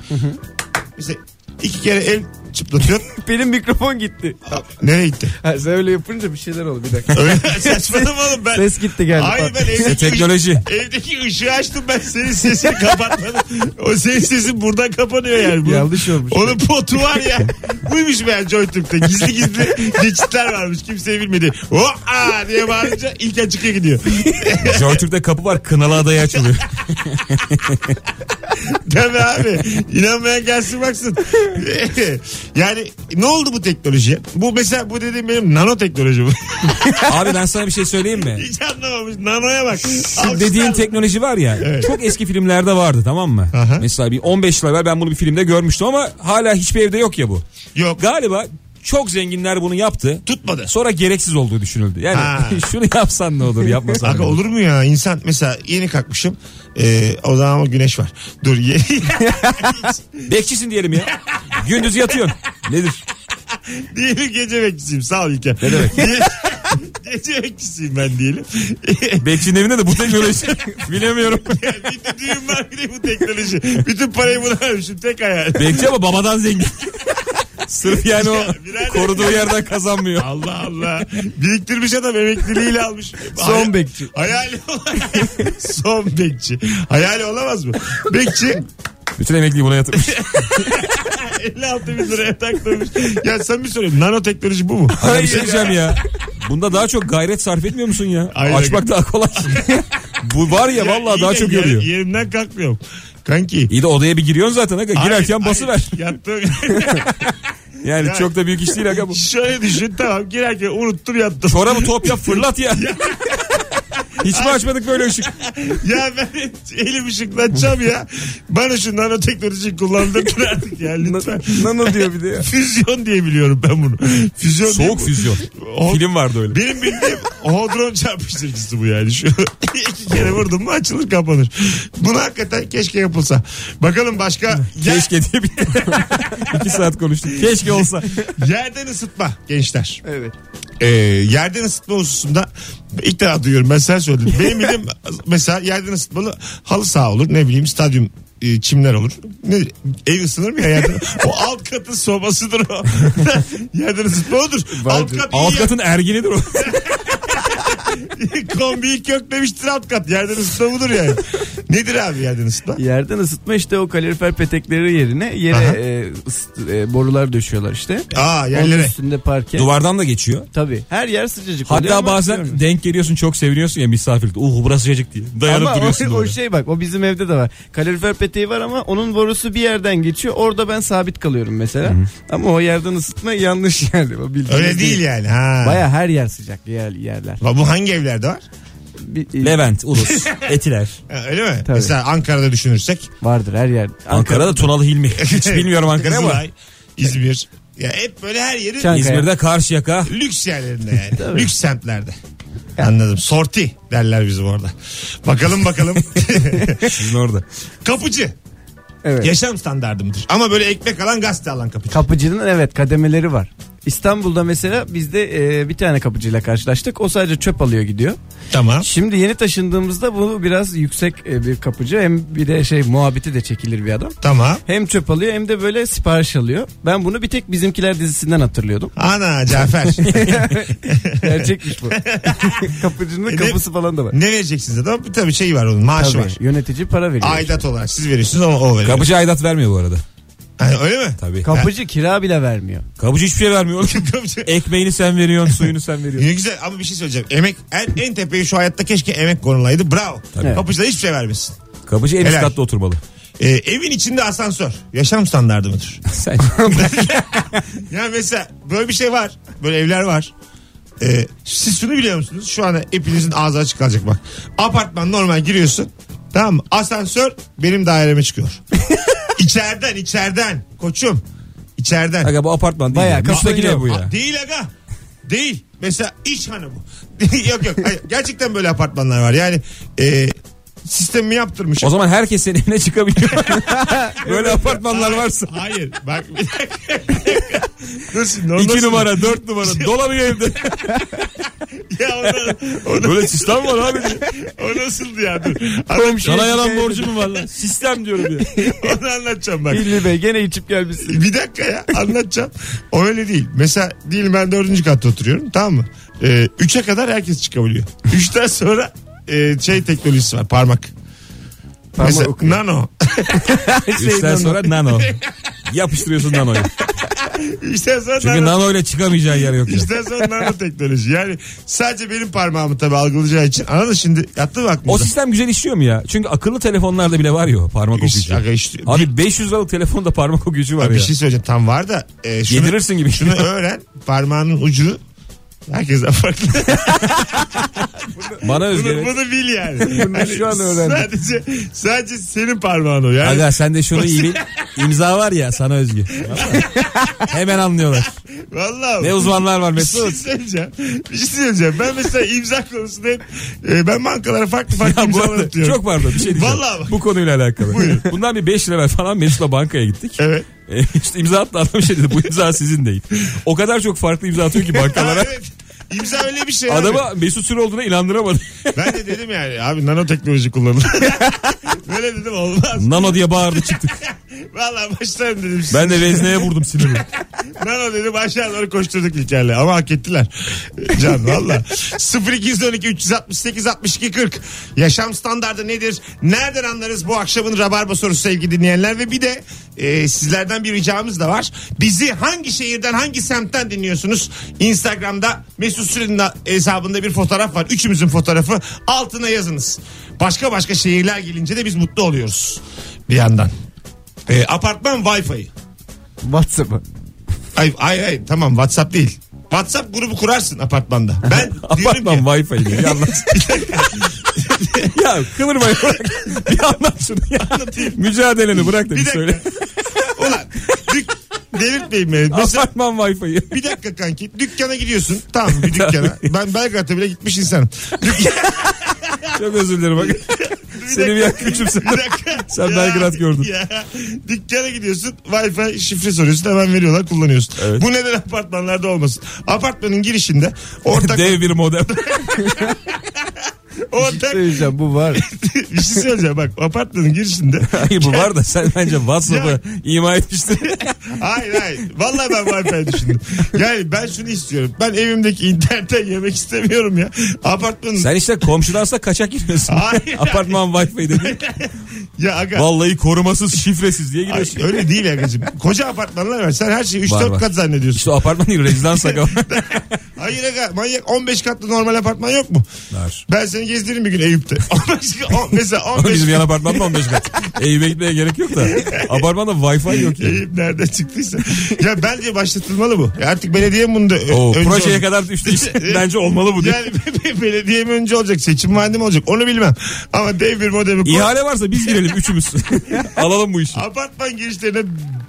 [SPEAKER 2] Mesela iki kere el çıplatıyor.
[SPEAKER 4] Benim mikrofon gitti.
[SPEAKER 2] Nereye gitti?
[SPEAKER 4] Ha, sen öyle yapınca bir şeyler oldu bir dakika.
[SPEAKER 2] Öyle saçmalama oğlum ben.
[SPEAKER 4] Ses gitti geldi.
[SPEAKER 2] Hayır ben
[SPEAKER 3] İşte
[SPEAKER 2] evdeki,
[SPEAKER 3] teknoloji.
[SPEAKER 2] evdeki ışığı açtım ben senin sesini kapatmadım. O senin sesin buradan kapanıyor yani. Bunun-
[SPEAKER 4] Yanlış olmuş.
[SPEAKER 2] Onun potu var ya. Buymuş meğer JoyTürk'te. Gizli gizli geçitler varmış. Kimse bilmedi. O aa diye bağırınca ilk açıkya gidiyor.
[SPEAKER 3] Joytürk'te kapı var kınalı adaya açılıyor.
[SPEAKER 2] Tabii abi. İnanmayan gelsin baksın. yani ne oldu bu teknolojiye? Bu mesela bu dediğim benim nanoteknoloji bu.
[SPEAKER 3] Abi ben sana bir şey söyleyeyim mi?
[SPEAKER 2] Hiç anlamamış. Nanoya bak.
[SPEAKER 3] Şu dediğin teknoloji var ya çok eski filmlerde vardı tamam mı?
[SPEAKER 2] Aha.
[SPEAKER 3] Mesela bir 15 yıl evvel ben bunu bir filmde görmüştüm ama hala hiçbir evde yok ya bu.
[SPEAKER 2] Yok.
[SPEAKER 3] Galiba çok zenginler bunu yaptı.
[SPEAKER 2] Tutmadı.
[SPEAKER 3] Sonra gereksiz olduğu düşünüldü. Yani
[SPEAKER 2] Ha.
[SPEAKER 3] şunu yapsan ne olur yapmasan ne
[SPEAKER 2] Aga
[SPEAKER 3] olur.
[SPEAKER 2] olur mu ya insan mesela yeni kalkmışım Ee, o zaman ama güneş var dur ye-
[SPEAKER 3] Bekçisin diyelim ya. Gündüz yatıyorsun. Nedir?
[SPEAKER 2] diyelim gece bekçisiyim sağ ol İlker ne
[SPEAKER 3] demek?
[SPEAKER 2] gece bekçisiyim ben diyelim
[SPEAKER 3] Bekçinin evinde de bu teknoloji. Bilemiyorum.
[SPEAKER 2] yani bir de düğün var bir de bu teknoloji bütün parayı buna vermişim tek hayal
[SPEAKER 3] Bekçi ama babadan zengin. Sırf yani o
[SPEAKER 2] Ya, birader.
[SPEAKER 3] koruduğu yerden kazanmıyor.
[SPEAKER 2] Allah Allah. Biriktirmiş adam emekliliğiyle almış.
[SPEAKER 4] Son
[SPEAKER 2] Hay-
[SPEAKER 4] bekçi.
[SPEAKER 2] Hayali olamaz. Son bekçi. Hayali olamaz mı? Bekçi
[SPEAKER 3] Bütün emekliyi buna yatırmış.
[SPEAKER 2] 56 bin liraya taktırmış. Ya sen bir soruyorum. Nanoteknoloji bu mu?
[SPEAKER 3] Hayır bir şey diyeceğim ya. Bunda daha çok gayret sarf etmiyor musun ya?
[SPEAKER 2] Aynen.
[SPEAKER 3] Açmak daha kolay. Bu var ya, vallahi
[SPEAKER 2] iyi
[SPEAKER 3] daha
[SPEAKER 2] de
[SPEAKER 3] çok
[SPEAKER 2] yer-
[SPEAKER 3] yoruyor.
[SPEAKER 2] Yerimden kalkmıyorum. Kanki.
[SPEAKER 3] İyi de odaya bir giriyorsun zaten. Aga. E, Girerken
[SPEAKER 2] Hayır,
[SPEAKER 3] basıver.
[SPEAKER 2] hayır. Yattım.
[SPEAKER 3] Yani
[SPEAKER 2] Ya.
[SPEAKER 3] çok da büyük iş değil aga bu.
[SPEAKER 2] Şöyle düşün tamam girerken unuttum yattım.
[SPEAKER 3] Çorabı top yap fırlat ya. Hiç mi açmadık böyle ışık?
[SPEAKER 2] Ya ben elim ışıklanacağım ya. Bana şu nanoteknolojiyi kullandırdın artık ya lütfen.
[SPEAKER 4] Nano diyor bir de ya.
[SPEAKER 2] Füzyon diye biliyorum ben bunu. Füzyon diye
[SPEAKER 3] Soğuk
[SPEAKER 2] bu.
[SPEAKER 3] füzyon.
[SPEAKER 2] O-
[SPEAKER 3] Film vardı öyle.
[SPEAKER 2] Benim bildiğim hodron çarpıştırıcısı bu yani. Şu iki kere vurdum mu açılır kapanır. Bunu hakikaten keşke yapılsa. Bakalım başka yer,
[SPEAKER 3] Keşke diye bir... İki saat konuştuk. Keşke olsa.
[SPEAKER 2] yerden ısıtma gençler.
[SPEAKER 4] Evet.
[SPEAKER 2] Ee, yerden ısıtma hususunda ilk defa duyuyorum ben sen söyledim. Benim bildiğim mesela yerden ısıtmalı halı saha olur ne bileyim stadyum e, çimler olur. Ne, ev ısınır mı ya yerden? o alt katın sobasıdır o. yerden ısıtma odur. Alt kat, iyi
[SPEAKER 3] Alt katın erginidir o.
[SPEAKER 2] Kombiyi köklemiştir alt kat. Yerden ısıtma budur yani. Nedir abi yerden ısıtma?
[SPEAKER 4] Yerden ısıtma işte o kalorifer petekleri yerine
[SPEAKER 2] Aha.
[SPEAKER 4] yere e, ıs- e, borular döşüyorlar işte.
[SPEAKER 2] Aa
[SPEAKER 4] Onun
[SPEAKER 2] yerlere.
[SPEAKER 4] üstünde parke.
[SPEAKER 3] Duvardan da geçiyor.
[SPEAKER 4] Tabii. Her yer sıcacık oluyor
[SPEAKER 3] Hatta
[SPEAKER 4] ama
[SPEAKER 3] bazen
[SPEAKER 4] ısıtıyormuş.
[SPEAKER 3] denk geliyorsun çok seviniyorsun ya misafirlikte. Uh burası sıcacık diye. Dayanıp
[SPEAKER 4] ama
[SPEAKER 3] duruyorsun.
[SPEAKER 4] o, o
[SPEAKER 3] orada.
[SPEAKER 4] şey bak o bizim evde de var. Kalorifer peteği var ama onun borusu bir yerden geçiyor. Orada ben sabit kalıyorum mesela. Ama o yerden ısıtma yanlış yani. O bildiğiniz
[SPEAKER 2] Öyle değil yani. Ha.
[SPEAKER 4] Baya her yer sıcak yer, yerler.
[SPEAKER 2] Ba- Bu hangi evlerde var?
[SPEAKER 4] Bir- e,
[SPEAKER 3] Levent, Ulus, Etiler.
[SPEAKER 2] Ha, öyle mi?
[SPEAKER 4] Tabii.
[SPEAKER 2] Mesela Ankara'da düşünürsek.
[SPEAKER 4] Vardır her yer.
[SPEAKER 3] Ankara'da Tunalı Hilmi. Hiç bilmiyorum Ankara'yı ama.
[SPEAKER 2] Kızılay, İzmir. Ya hep böyle her yerin
[SPEAKER 4] Çankaya.
[SPEAKER 3] İzmir'de Karşıyaka.
[SPEAKER 2] lüks yerlerinde yani. lüks semtlerde. Anladım. Sorti derler bizim orada. Bakalım bakalım.
[SPEAKER 3] Sizin orada.
[SPEAKER 2] kapıcı.
[SPEAKER 4] Evet.
[SPEAKER 2] Yaşam standardımdır. Ama böyle ekmek alan gazete alan kapıcı.
[SPEAKER 4] Kapıcının evet kademeleri var. İstanbul'da mesela bizde e, bir tane kapıcıyla karşılaştık. O sadece çöp alıyor gidiyor.
[SPEAKER 2] Tamam.
[SPEAKER 4] Şimdi yeni taşındığımızda bu biraz yüksek e, bir kapıcı hem bir de şey muhabbeti de çekilir bir adam.
[SPEAKER 2] Tamam.
[SPEAKER 4] Hem çöp alıyor hem de böyle sipariş alıyor. Ben bunu bir tek bizimkiler dizisinden hatırlıyordum.
[SPEAKER 2] Ana Cafer.
[SPEAKER 4] Gerçekmiş bu. Kapıcının kapısı falan da var.
[SPEAKER 2] ne vereceksiniz adam? Tabii şey var onun maaşı
[SPEAKER 4] Tabii,
[SPEAKER 2] var.
[SPEAKER 4] yönetici para veriyor.
[SPEAKER 2] Aidat olarak siz veriyorsunuz ama o veriyor.
[SPEAKER 3] Kapıcı aidat vermiyor bu arada.
[SPEAKER 2] Yani öyle mi?
[SPEAKER 3] Tabii.
[SPEAKER 4] Kapıcı kira bile vermiyor.
[SPEAKER 3] Kapıcı hiçbir şey vermiyor. oğlum.
[SPEAKER 2] Kapıcı.
[SPEAKER 4] E-
[SPEAKER 3] Ekmeğini sen veriyorsun, suyunu sen veriyorsun.
[SPEAKER 2] Ne güzel ama bir şey söyleyeceğim. Emek en, en tepeye şu hayatta keşke emek konulaydı. Bravo.
[SPEAKER 4] Evet.
[SPEAKER 2] Kapıcı da hiçbir şey vermesin.
[SPEAKER 3] Kapıcı en üst
[SPEAKER 2] Helal.
[SPEAKER 3] katta oturmalı.
[SPEAKER 2] Ee, evin içinde asansör. Yaşam standardı mıdır?
[SPEAKER 3] Sen
[SPEAKER 2] yani mesela böyle bir şey var. Böyle evler var. Ee, siz şunu biliyor musunuz? Şu anda hepinizin ağzı açık kalacak bak. Apartman normal giriyorsun. Tamam mı? Asansör benim daireme çıkıyor. İçeriden içeriden. Koçum. İçeriden.
[SPEAKER 3] Aga bu apartman değil.
[SPEAKER 4] Bayağı
[SPEAKER 3] ya.
[SPEAKER 4] kafayı
[SPEAKER 3] Müstakil ev bu
[SPEAKER 2] Aa,
[SPEAKER 3] ya.
[SPEAKER 2] değil aga. Değil. Mesela iş hanı bu. yok yok. Hayır, gerçekten böyle apartmanlar var. Yani e, sistemi yaptırmış.
[SPEAKER 3] O zaman herkes senin evine çıkabiliyor. Böyle apartmanlar
[SPEAKER 2] Hayır,
[SPEAKER 3] varsa.
[SPEAKER 2] Hayır. Bak bir dakika. Dur şimdi, ondan
[SPEAKER 3] İki
[SPEAKER 2] sonra-
[SPEAKER 3] numara, dört numara. Dolamıyor evde.
[SPEAKER 2] Ya ondan-
[SPEAKER 3] Böyle sistem var abi.
[SPEAKER 2] o nasıldı ya? Dur.
[SPEAKER 3] Sana yalan borcu mu var lan? Sistem diyorum ya.
[SPEAKER 2] Onu anlatacağım bak.
[SPEAKER 4] Hilmi Bey gene içip gelmişsin.
[SPEAKER 2] Bir dakika ya anlatacağım. O öyle değil. Mesela diyelim ben dördüncü katta oturuyorum tamam mı? Ee, üçe kadar herkes çıkabiliyor. Üçten sonra e, şey teknolojisi var parmak. Mesela nano.
[SPEAKER 3] Üçten sonra nano. Yapıştırıyorsun nanoyu.
[SPEAKER 2] Üçten sonra
[SPEAKER 3] Çünkü
[SPEAKER 2] nano.
[SPEAKER 3] nano ile çıkamayacağın yer yok. ya.
[SPEAKER 2] Üçten sonra nano teknoloji. Yani sadece benim parmağımı tabii algılayacağı için. Anladın şimdi yattı mı
[SPEAKER 3] O
[SPEAKER 2] aklımıza?
[SPEAKER 3] sistem güzel işliyor mu ya? Çünkü akıllı telefonlarda bile var ya o parmak
[SPEAKER 2] İş-
[SPEAKER 3] okuyucu.
[SPEAKER 2] aga işte-
[SPEAKER 3] Abi 500 liralık telefonda parmak okuyucu var
[SPEAKER 2] bir
[SPEAKER 3] ya.
[SPEAKER 2] şey söyleyeceğim tam var da. E, şunu,
[SPEAKER 3] Yedirirsin gibi.
[SPEAKER 2] Şunu öğren parmağının ucu herkesten farklı.
[SPEAKER 3] Bana özgü.
[SPEAKER 2] Bunu,
[SPEAKER 3] evet.
[SPEAKER 2] bunu bil yani. Hani
[SPEAKER 4] şu an öğrendim.
[SPEAKER 2] Sadece, sadece senin parmağın o. Yani
[SPEAKER 3] Aga sen de şunu iyi bil. İmza var ya sana özgü. Hemen anlıyorlar.
[SPEAKER 2] Vallahi.
[SPEAKER 3] Ne uzmanlar var
[SPEAKER 2] Bir şey
[SPEAKER 3] Mesut.
[SPEAKER 2] söyleyeceğim. Bir şey söyleyeceğim. Ben mesela imza konusunda hep e, ben bankalara farklı farklı
[SPEAKER 3] Ya bu
[SPEAKER 2] imzalar
[SPEAKER 3] arada,
[SPEAKER 2] atıyorum.
[SPEAKER 3] çok pardon bir şey diyeceğim.
[SPEAKER 2] Vallahi bak.
[SPEAKER 3] Bu konuyla alakalı. Bundan bir 5 lira ver falan Mesut'la bankaya gittik.
[SPEAKER 2] Evet.
[SPEAKER 3] E, işte imza attı adam şey dedi bu imza sizin değil. O kadar çok farklı imza atıyor ki
[SPEAKER 2] Aa,
[SPEAKER 3] bankalara.
[SPEAKER 2] evet. İmza öyle bir şey.
[SPEAKER 3] Adama
[SPEAKER 2] abi.
[SPEAKER 3] Mesut Süre olduğuna inandıramadı.
[SPEAKER 2] Ben de dedim yani abi nanoteknoloji kullanın. Böyle dedim olmaz.
[SPEAKER 3] Nano diye bağırdı çıktık.
[SPEAKER 2] Vallahi baştan dedim.
[SPEAKER 3] Ben de vezneye vurdum sinirimi.
[SPEAKER 2] Nano dedim aşağı doğru koşturduk İlker'le. Ama hak ettiler. Can valla. 0212 368 62 40. Yaşam standardı nedir? Nereden anlarız bu akşamın rabarba sorusu sevgili dinleyenler? Ve bir de e, sizlerden bir ricamız da var. Bizi hangi şehirden hangi semtten dinliyorsunuz? Instagram'da Mesut Süren'in hesabında bir fotoğraf var. Üçümüzün fotoğrafı. Altına yazınız. Başka başka şehirler gelince de biz mutlu oluyoruz. Bir yandan. E, apartman Wi-Fi.
[SPEAKER 4] WhatsApp'a.
[SPEAKER 2] Ay ay ay tamam WhatsApp değil. WhatsApp grubu kurarsın apartmanda. Ben
[SPEAKER 3] Apartman
[SPEAKER 2] diyorum ki
[SPEAKER 3] Wi-Fi diyor. Yalnız. ya kıvırmayı bırak. Bir anlat şunu ya. Mücadeleni bırak da bir,
[SPEAKER 2] bir
[SPEAKER 3] söyle.
[SPEAKER 2] dakika. Ulan dük, delirtmeyin beni. Mesela
[SPEAKER 3] Apartman Wi-Fi'yi.
[SPEAKER 2] bir dakika kanki dükkana gidiyorsun. Tamam bir dükkana. ben Belgrad'da bile gitmiş insanım.
[SPEAKER 3] Çok özür dilerim bak. Seni bir an küçümsedim.
[SPEAKER 2] Bir dakika.
[SPEAKER 3] Sen Belgrad gördün.
[SPEAKER 2] Ya, dükkana gidiyorsun Wi-Fi şifre soruyorsun hemen veriyorlar kullanıyorsun.
[SPEAKER 3] Evet.
[SPEAKER 2] Bu neden apartmanlarda olmasın? Apartmanın girişinde ortak
[SPEAKER 3] Dev bir modem.
[SPEAKER 2] ortak
[SPEAKER 4] Söyleyeceğim bu var.
[SPEAKER 2] bir şey söyleyeceğim bak apartmanın girişinde
[SPEAKER 3] Hayır bu var da sen bence WhatsApp'ı
[SPEAKER 2] Ya.
[SPEAKER 3] ima etmiştin.
[SPEAKER 2] hayır hayır. Vallahi ben Wi-Fi düşündüm. Yani ben şunu istiyorum. Ben evimdeki internetten yemek istemiyorum ya. Apartmanın.
[SPEAKER 3] sen işte komşudansa kaçak giriyorsun.
[SPEAKER 2] Hayır.
[SPEAKER 3] Apartman Wi-Fi dedi.
[SPEAKER 2] Ya aga.
[SPEAKER 3] Vallahi korumasız şifresiz diye
[SPEAKER 2] Ay,
[SPEAKER 3] giriyorsun.
[SPEAKER 2] öyle değil agacım. Koca apartmanlar var. Sen her şeyi
[SPEAKER 3] Var,
[SPEAKER 2] 3-4
[SPEAKER 3] var.
[SPEAKER 2] kat zannediyorsun.
[SPEAKER 3] İşte o apartman değil rezidans aga.
[SPEAKER 2] Hayır aga manyak 15 katlı normal apartman yok mu?
[SPEAKER 3] Var.
[SPEAKER 2] Ben seni gezdiririm bir gün Eyüp'te. 15, on- mesela 15
[SPEAKER 3] Bizim yan apartman da 15 kat. Evi gitmeye gerek yok da. Apartmanda Wi-Fi yok ya.
[SPEAKER 2] Eyüp nerede çıktıysa. ya bence başlatılmalı bu. Ya artık belediye mi bunu da ö-
[SPEAKER 3] O
[SPEAKER 2] önce
[SPEAKER 3] projeye
[SPEAKER 2] olacak?
[SPEAKER 3] kadar düştü işte. Bence olmalı bu. diye.
[SPEAKER 2] Yani belediye mi önce olacak seçim vaadi mi olacak onu bilmem. Ama dev bir modemi koy.
[SPEAKER 3] İhale varsa biz girelim üçümüz. Alalım bu işi.
[SPEAKER 2] Apartman girişlerine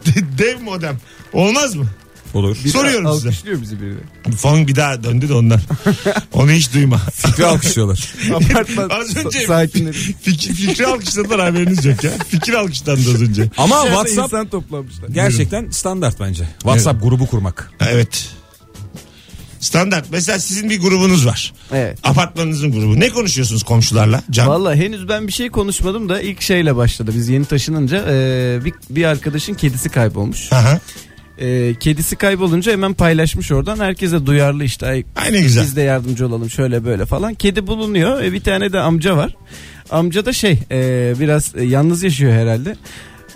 [SPEAKER 2] de- dev modem. Olmaz mı?
[SPEAKER 3] Olur.
[SPEAKER 2] Soruyorum size.
[SPEAKER 4] Alkışlıyor bizi biri.
[SPEAKER 2] Fon bir daha döndü de ondan. Onu hiç duyma.
[SPEAKER 3] Fikri alkışlıyorlar.
[SPEAKER 4] Apartman
[SPEAKER 2] Az önce-
[SPEAKER 4] sa- sakinleri.
[SPEAKER 2] Fikir, fikri alkışladılar haberiniz yok ya. Fikir alkışlandı az önce.
[SPEAKER 3] Ama
[SPEAKER 4] İçeride
[SPEAKER 3] WhatsApp
[SPEAKER 4] insan toplamışlar.
[SPEAKER 3] gerçekten standart bence. WhatsApp grubu kurmak.
[SPEAKER 2] Evet. Standart. Mesela sizin bir grubunuz var.
[SPEAKER 4] Evet.
[SPEAKER 2] Apartmanınızın grubu. Ne konuşuyorsunuz komşularla? Can.
[SPEAKER 4] Valla henüz ben bir şey konuşmadım da ilk şeyle başladı. Biz yeni taşınınca e, bir, bir arkadaşın kedisi kaybolmuş.
[SPEAKER 2] Aha.
[SPEAKER 4] E, kedisi kaybolunca hemen paylaşmış oradan. Herkese duyarlı işte. Ay,
[SPEAKER 2] Ay ne güzel.
[SPEAKER 4] Biz de yardımcı olalım şöyle böyle falan. Kedi bulunuyor. E, bir tane de amca var. Amca da şey e, biraz e, yalnız yaşıyor herhalde.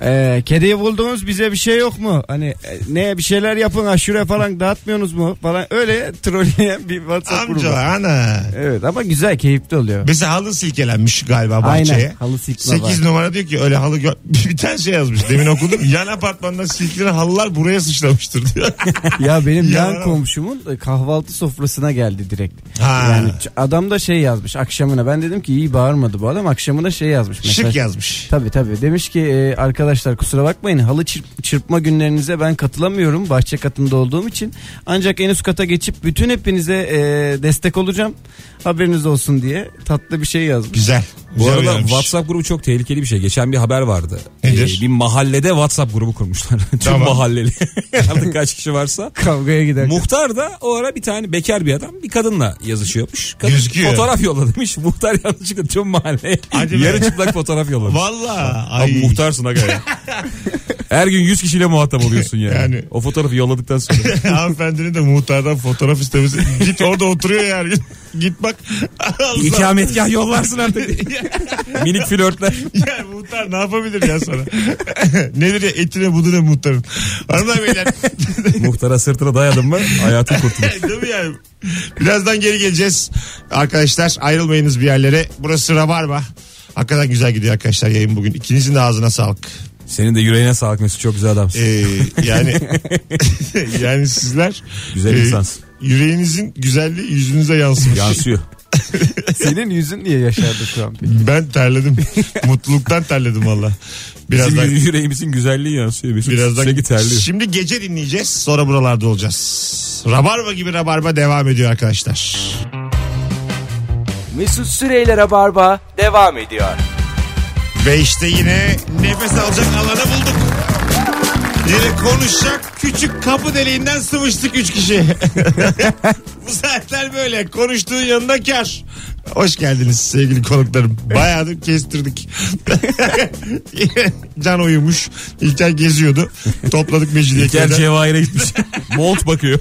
[SPEAKER 4] E, kediyi buldunuz bize bir şey yok mu? Hani e, ne bir şeyler yapın aşure falan dağıtmıyorsunuz mu? Falan öyle trolleyen bir WhatsApp grubu.
[SPEAKER 2] Amcalar ana.
[SPEAKER 4] Evet ama güzel keyifli oluyor.
[SPEAKER 2] Mesela halı silkelenmiş galiba bahçeye.
[SPEAKER 4] Aynen halı sikme
[SPEAKER 2] 8
[SPEAKER 4] var.
[SPEAKER 2] numara diyor ki öyle halı gö- bir tane şey yazmış demin okudum. Yan apartmandan silkilenen halılar buraya sıçramıştır diyor.
[SPEAKER 4] Ya benim
[SPEAKER 2] Yalan
[SPEAKER 4] yan
[SPEAKER 2] ama.
[SPEAKER 4] komşumun e, kahvaltı sofrasına geldi direkt.
[SPEAKER 2] Ha.
[SPEAKER 4] Yani ç- adam da şey yazmış akşamına. Ben dedim ki iyi bağırmadı bu adam. Akşamına şey yazmış.
[SPEAKER 2] Şık yazmış.
[SPEAKER 4] Tabii tabii. Demiş ki e, arkadaşlar kusura bakmayın halı çırp- çırpma günlerinize ben katılamıyorum bahçe katında olduğum için. Ancak en üst kata geçip bütün hepinize e, destek olacağım haberiniz olsun diye tatlı bir şey yazmış.
[SPEAKER 2] Güzel.
[SPEAKER 3] Bu
[SPEAKER 2] Güzel
[SPEAKER 3] arada
[SPEAKER 2] uyarmış.
[SPEAKER 3] WhatsApp grubu çok tehlikeli bir şey. Geçen bir haber vardı. Ee,
[SPEAKER 2] Nedir?
[SPEAKER 3] bir mahallede WhatsApp grubu kurmuşlar. Tüm
[SPEAKER 2] Tamam.
[SPEAKER 3] mahalleli. Artık kaç kişi varsa.
[SPEAKER 4] Kavgaya gider.
[SPEAKER 3] Muhtar da o ara bir tane bekar bir adam bir kadınla yazışıyormuş. Kadın
[SPEAKER 2] Gözüküyor.
[SPEAKER 3] Fotoğraf yollamış. Muhtar yanlışlıkla tüm mahalleye
[SPEAKER 2] Hadi be.
[SPEAKER 3] yarı çıplak fotoğraf yollamış.
[SPEAKER 2] Valla.
[SPEAKER 3] Abi
[SPEAKER 2] ay.
[SPEAKER 3] muhtarsın aga ya. Her gün 100 kişiyle muhatap oluyorsun yani.
[SPEAKER 2] Yani.
[SPEAKER 3] O fotoğrafı yolladıktan sonra.
[SPEAKER 2] Hanımefendinin de muhtardan fotoğraf istemesi. Git orada oturuyor yani. Git bak. Allah.
[SPEAKER 3] İkametgah yollarsın artık. Minik flörtler.
[SPEAKER 2] Yani muhtar ne yapabilir ya sana? Nedir ya etine buduna muhtarın? Hanımlar beyler.
[SPEAKER 3] Muhtara sırtına dayadın mı hayatın kurtulur.
[SPEAKER 2] Değil mi yani? Birazdan geri geleceğiz. Arkadaşlar ayrılmayınız bir yerlere. Burası Rabarba. Hakikaten güzel gidiyor arkadaşlar yayın bugün. İkinizin de ağzına sağlık.
[SPEAKER 3] Senin de yüreğine sağlık Mesut çok güzel adamsın.
[SPEAKER 2] Ee, yani yani sizler e,
[SPEAKER 3] Güzel insans.
[SPEAKER 2] yüreğinizin güzelliği yüzünüze yansımış.
[SPEAKER 3] Yansıyor.
[SPEAKER 4] Senin yüzün niye yaşardı şu an?
[SPEAKER 2] Ben terledim. Mutluluktan terledim valla. Birazdan
[SPEAKER 3] Bizim yüreğimizin güzelliği yansıyor. Mesut
[SPEAKER 2] Birazdan
[SPEAKER 3] sürekli terliyor.
[SPEAKER 2] Şimdi gece dinleyeceğiz. Sonra buralarda olacağız. Rabarba gibi rabarba devam ediyor arkadaşlar.
[SPEAKER 1] Mesut Süreyler'e barba devam ediyor.
[SPEAKER 2] Ve işte yine nefes alacak alanı bulduk. Yine konuşacak küçük kapı deliğinden sıvıştık üç kişi. Bu saatler böyle. Konuştuğun yanında kar. Hoş geldiniz sevgili konuklarım. Bayağı da kestirdik. Can uyumuş. İlker geziyordu. Topladık
[SPEAKER 3] İlker
[SPEAKER 2] Mecidiyeköy'den.
[SPEAKER 3] Cevahir'e gitmiş. Bolt bakıyor.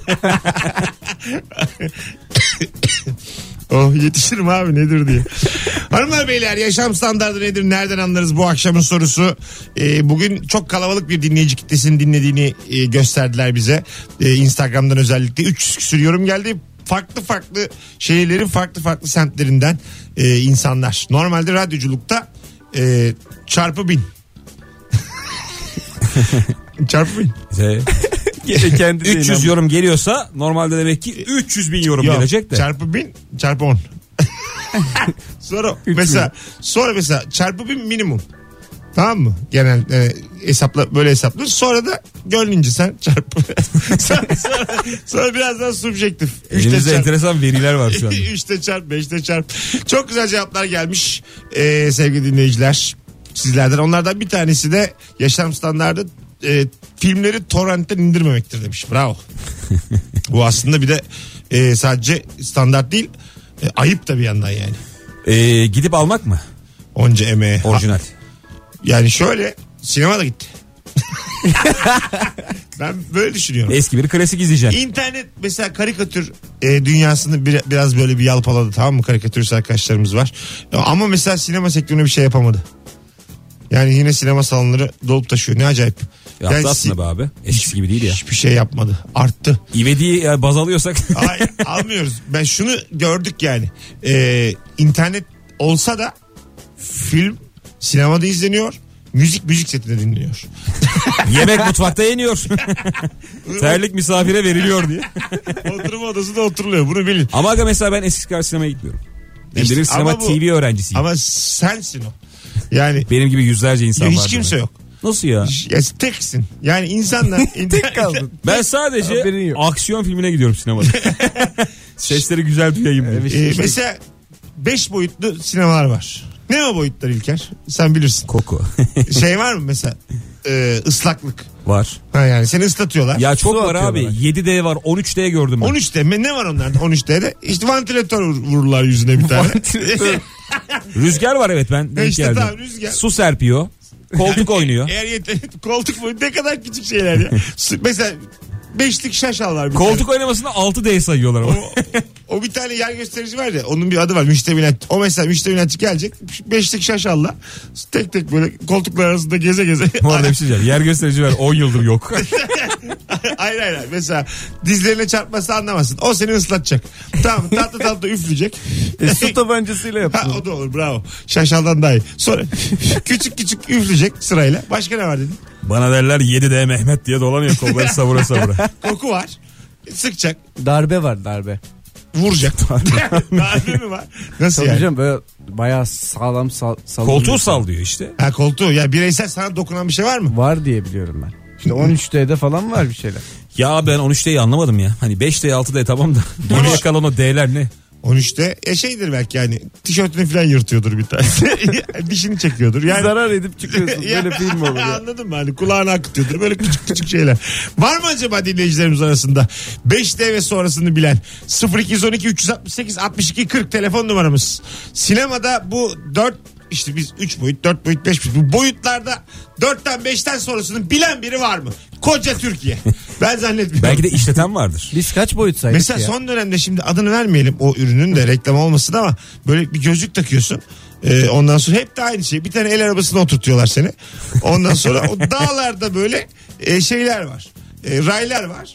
[SPEAKER 2] Oh yetişirim abi nedir diye. Hanımlar beyler yaşam standardı nedir? Nereden anlarız bu akşamın sorusu? Ee, bugün çok kalabalık bir dinleyici kitlesinin dinlediğini e, gösterdiler bize. Ee, Instagram'dan özellikle 300 küsür yorum geldi. Farklı farklı şehirlerin farklı farklı semtlerinden e, insanlar. Normalde radyoculukta e, çarpı bin. çarpı bin.
[SPEAKER 3] Şey,
[SPEAKER 4] Kendi
[SPEAKER 3] 300 yorum geliyorsa normalde demek ki 300 bin yorum
[SPEAKER 2] E- Yok,
[SPEAKER 3] gelecek de.
[SPEAKER 2] Çarpı bin çarpı on. sonra mesela sonra mesela çarpı bin minimum. Tamam mı? Genel e, hesapla böyle hesaplı. Sonra da gönlünce sen çarpı. sonra, sonra, sonra biraz daha subjektif. Üçte
[SPEAKER 3] Elimizde
[SPEAKER 2] çarp,
[SPEAKER 3] enteresan veriler var şu an.
[SPEAKER 2] üçte çarp, beşte çarp. Çok güzel cevaplar gelmiş e, sevgili dinleyiciler. Sizlerden onlardan bir tanesi de yaşam standardı e, filmleri torrentten indirmemektir demiş. Bravo. Bu aslında bir de e, sadece standart değil e, ayıp da bir yandan yani.
[SPEAKER 3] Ee, gidip almak mı?
[SPEAKER 2] Onca emeğe.
[SPEAKER 3] Orijinal.
[SPEAKER 2] Yani şöyle sinemada gitti. ben böyle düşünüyorum.
[SPEAKER 3] Eski bir klasik izleyeceğim.
[SPEAKER 2] İnternet mesela karikatür e, dünyasını bir- biraz böyle bir yalpaladı tamam mı? Karikatürist arkadaşlarımız var. Ama mesela sinema sektörüne bir şey yapamadı. Yani yine sinema salonları dolup taşıyor. Ne acayip.
[SPEAKER 3] Yaptı
[SPEAKER 2] Yani
[SPEAKER 3] aslında
[SPEAKER 2] si-
[SPEAKER 3] be abi. Eskisi gibi değil ya.
[SPEAKER 2] Hiçbir şey yapmadı. Arttı.
[SPEAKER 3] İvedi'yi e, baz alıyorsak
[SPEAKER 2] Hayır almıyoruz. Ben şunu gördük yani. Ee, internet olsa da film sinemada izleniyor. Müzik müzik setinde dinleniyor.
[SPEAKER 3] yemek mutfakta yeniyor. Terlik misafire veriliyor diye.
[SPEAKER 2] Oturma odasında oturuluyor bunu bilin.
[SPEAKER 3] Ama aga mesela ben eskisi kadar sinemaya gitmiyorum. Ben
[SPEAKER 2] İşte
[SPEAKER 3] bir sinema
[SPEAKER 2] ama bu-
[SPEAKER 3] TV öğrencisiyim.
[SPEAKER 2] Ama sensin o. Yani
[SPEAKER 3] Benim gibi yüzlerce insan var.
[SPEAKER 2] hiç kimse yok.
[SPEAKER 3] Nasıl ya?
[SPEAKER 2] Ya teksin. Yani insanlar
[SPEAKER 4] Tek kaldın.
[SPEAKER 3] Ben sadece
[SPEAKER 4] Haberin yok.
[SPEAKER 3] aksiyon filmine gidiyorum sinemada. Sesleri güzel duyayım diye.
[SPEAKER 2] Ee, mesela 5 boyutlu sinemalar var. Ne o boyutlar İlker? Sen bilirsin.
[SPEAKER 3] Koku.
[SPEAKER 2] Şey var mı mesela? Ee, ıslaklık.
[SPEAKER 3] var.
[SPEAKER 2] Ha yani seni ıslatıyorlar.
[SPEAKER 3] Ya çok
[SPEAKER 4] Su
[SPEAKER 3] var
[SPEAKER 4] atıyorlar.
[SPEAKER 3] abi. 7D var. 13D gördüm ben.
[SPEAKER 2] 13'te mi? ne var onlarda 13'te de işte vantilatör vur- vururlar yüzüne bir tane.
[SPEAKER 3] Rüzgar var evet ben denk
[SPEAKER 2] işte
[SPEAKER 3] geldim.
[SPEAKER 2] tamam, rüzgar.
[SPEAKER 3] Su serpiyor. Koltuk oynuyor.
[SPEAKER 2] Eğer yeter koltuk boyu ne kadar küçük şeyler ya. Su- Mesela beşlik şaşal var bir
[SPEAKER 3] Koltuk
[SPEAKER 2] tane.
[SPEAKER 3] oynamasında 6D sayıyorlar ama.
[SPEAKER 2] O, o bir tane yer gösterici var ya onun bir adı var müştemilat. O mesela müştemilatçı gelecek beşlik şaşalla tek tek böyle koltuklar arasında geze geze.
[SPEAKER 3] Bu arada bir şey diyeceğim. Yer gösterici var 10 yıldır yok.
[SPEAKER 2] hayır hayır hayır. mesela dizlerine çarpması anlamasın. O seni ıslatacak. Tamam tatlı tatlı üfleyecek.
[SPEAKER 4] E, su tabancasıyla
[SPEAKER 2] Ha,
[SPEAKER 4] yaptın.
[SPEAKER 2] o da olur bravo. Şaşaldan daha iyi. Sonra küçük küçük üfleyecek sırayla. Başka ne var dedin?
[SPEAKER 3] Bana derler 7D Mehmet diye dolanıyor kolları savura savura.
[SPEAKER 2] Koku var. Sıkacak.
[SPEAKER 4] Darbe var darbe.
[SPEAKER 2] vuracak. Darbe mi var? Nasıl
[SPEAKER 4] Tabii
[SPEAKER 2] yani?
[SPEAKER 4] canım böyle bayağı sağlam sal, sallanıyor.
[SPEAKER 3] Koltuğu sallıyor işte.
[SPEAKER 2] Ha koltuğu ya bireysel sana dokunan bir şey var mı?
[SPEAKER 4] Var diye biliyorum ben. İşte 13'te de falan var bir şeyler.
[SPEAKER 3] Ya ben 13'teyi anlamadım ya. Hani 5'teyi 6'dayı tamam da. Geriye kalan o D'ler ne?
[SPEAKER 2] 13'te e şeydir belki yani tişörtünü falan yırtıyordur bir tanesi. Dişini çekiyordur. Yani
[SPEAKER 4] Zarar edip çıkıyorsun. Böyle
[SPEAKER 2] Yani-
[SPEAKER 4] film olur ya.
[SPEAKER 2] Anladın mı? Hani kulağını akıtıyordur. Böyle küçük küçük şeyler. Var mı acaba dinleyicilerimiz arasında? 5D ve sonrasını bilen 0212 368 62 40 telefon numaramız. Sinemada bu 4 işte biz 3 boyut, 4 boyut, 5 boyut. Bu boyutlarda 4'ten 5'ten sonrasını bilen biri var mı? Koca Türkiye. Ben zannetmiyorum.
[SPEAKER 3] Belki de işleten vardır.
[SPEAKER 4] Biz kaç boyut saydık
[SPEAKER 2] Mesela
[SPEAKER 4] ya?
[SPEAKER 2] son dönemde şimdi adını vermeyelim o ürünün de reklam olmasın ama böyle bir gözlük takıyorsun. Ee, ondan sonra hep de aynı şey. Bir tane el arabasına oturtuyorlar seni. Ondan sonra o dağlarda böyle e, şeyler var. E, raylar var.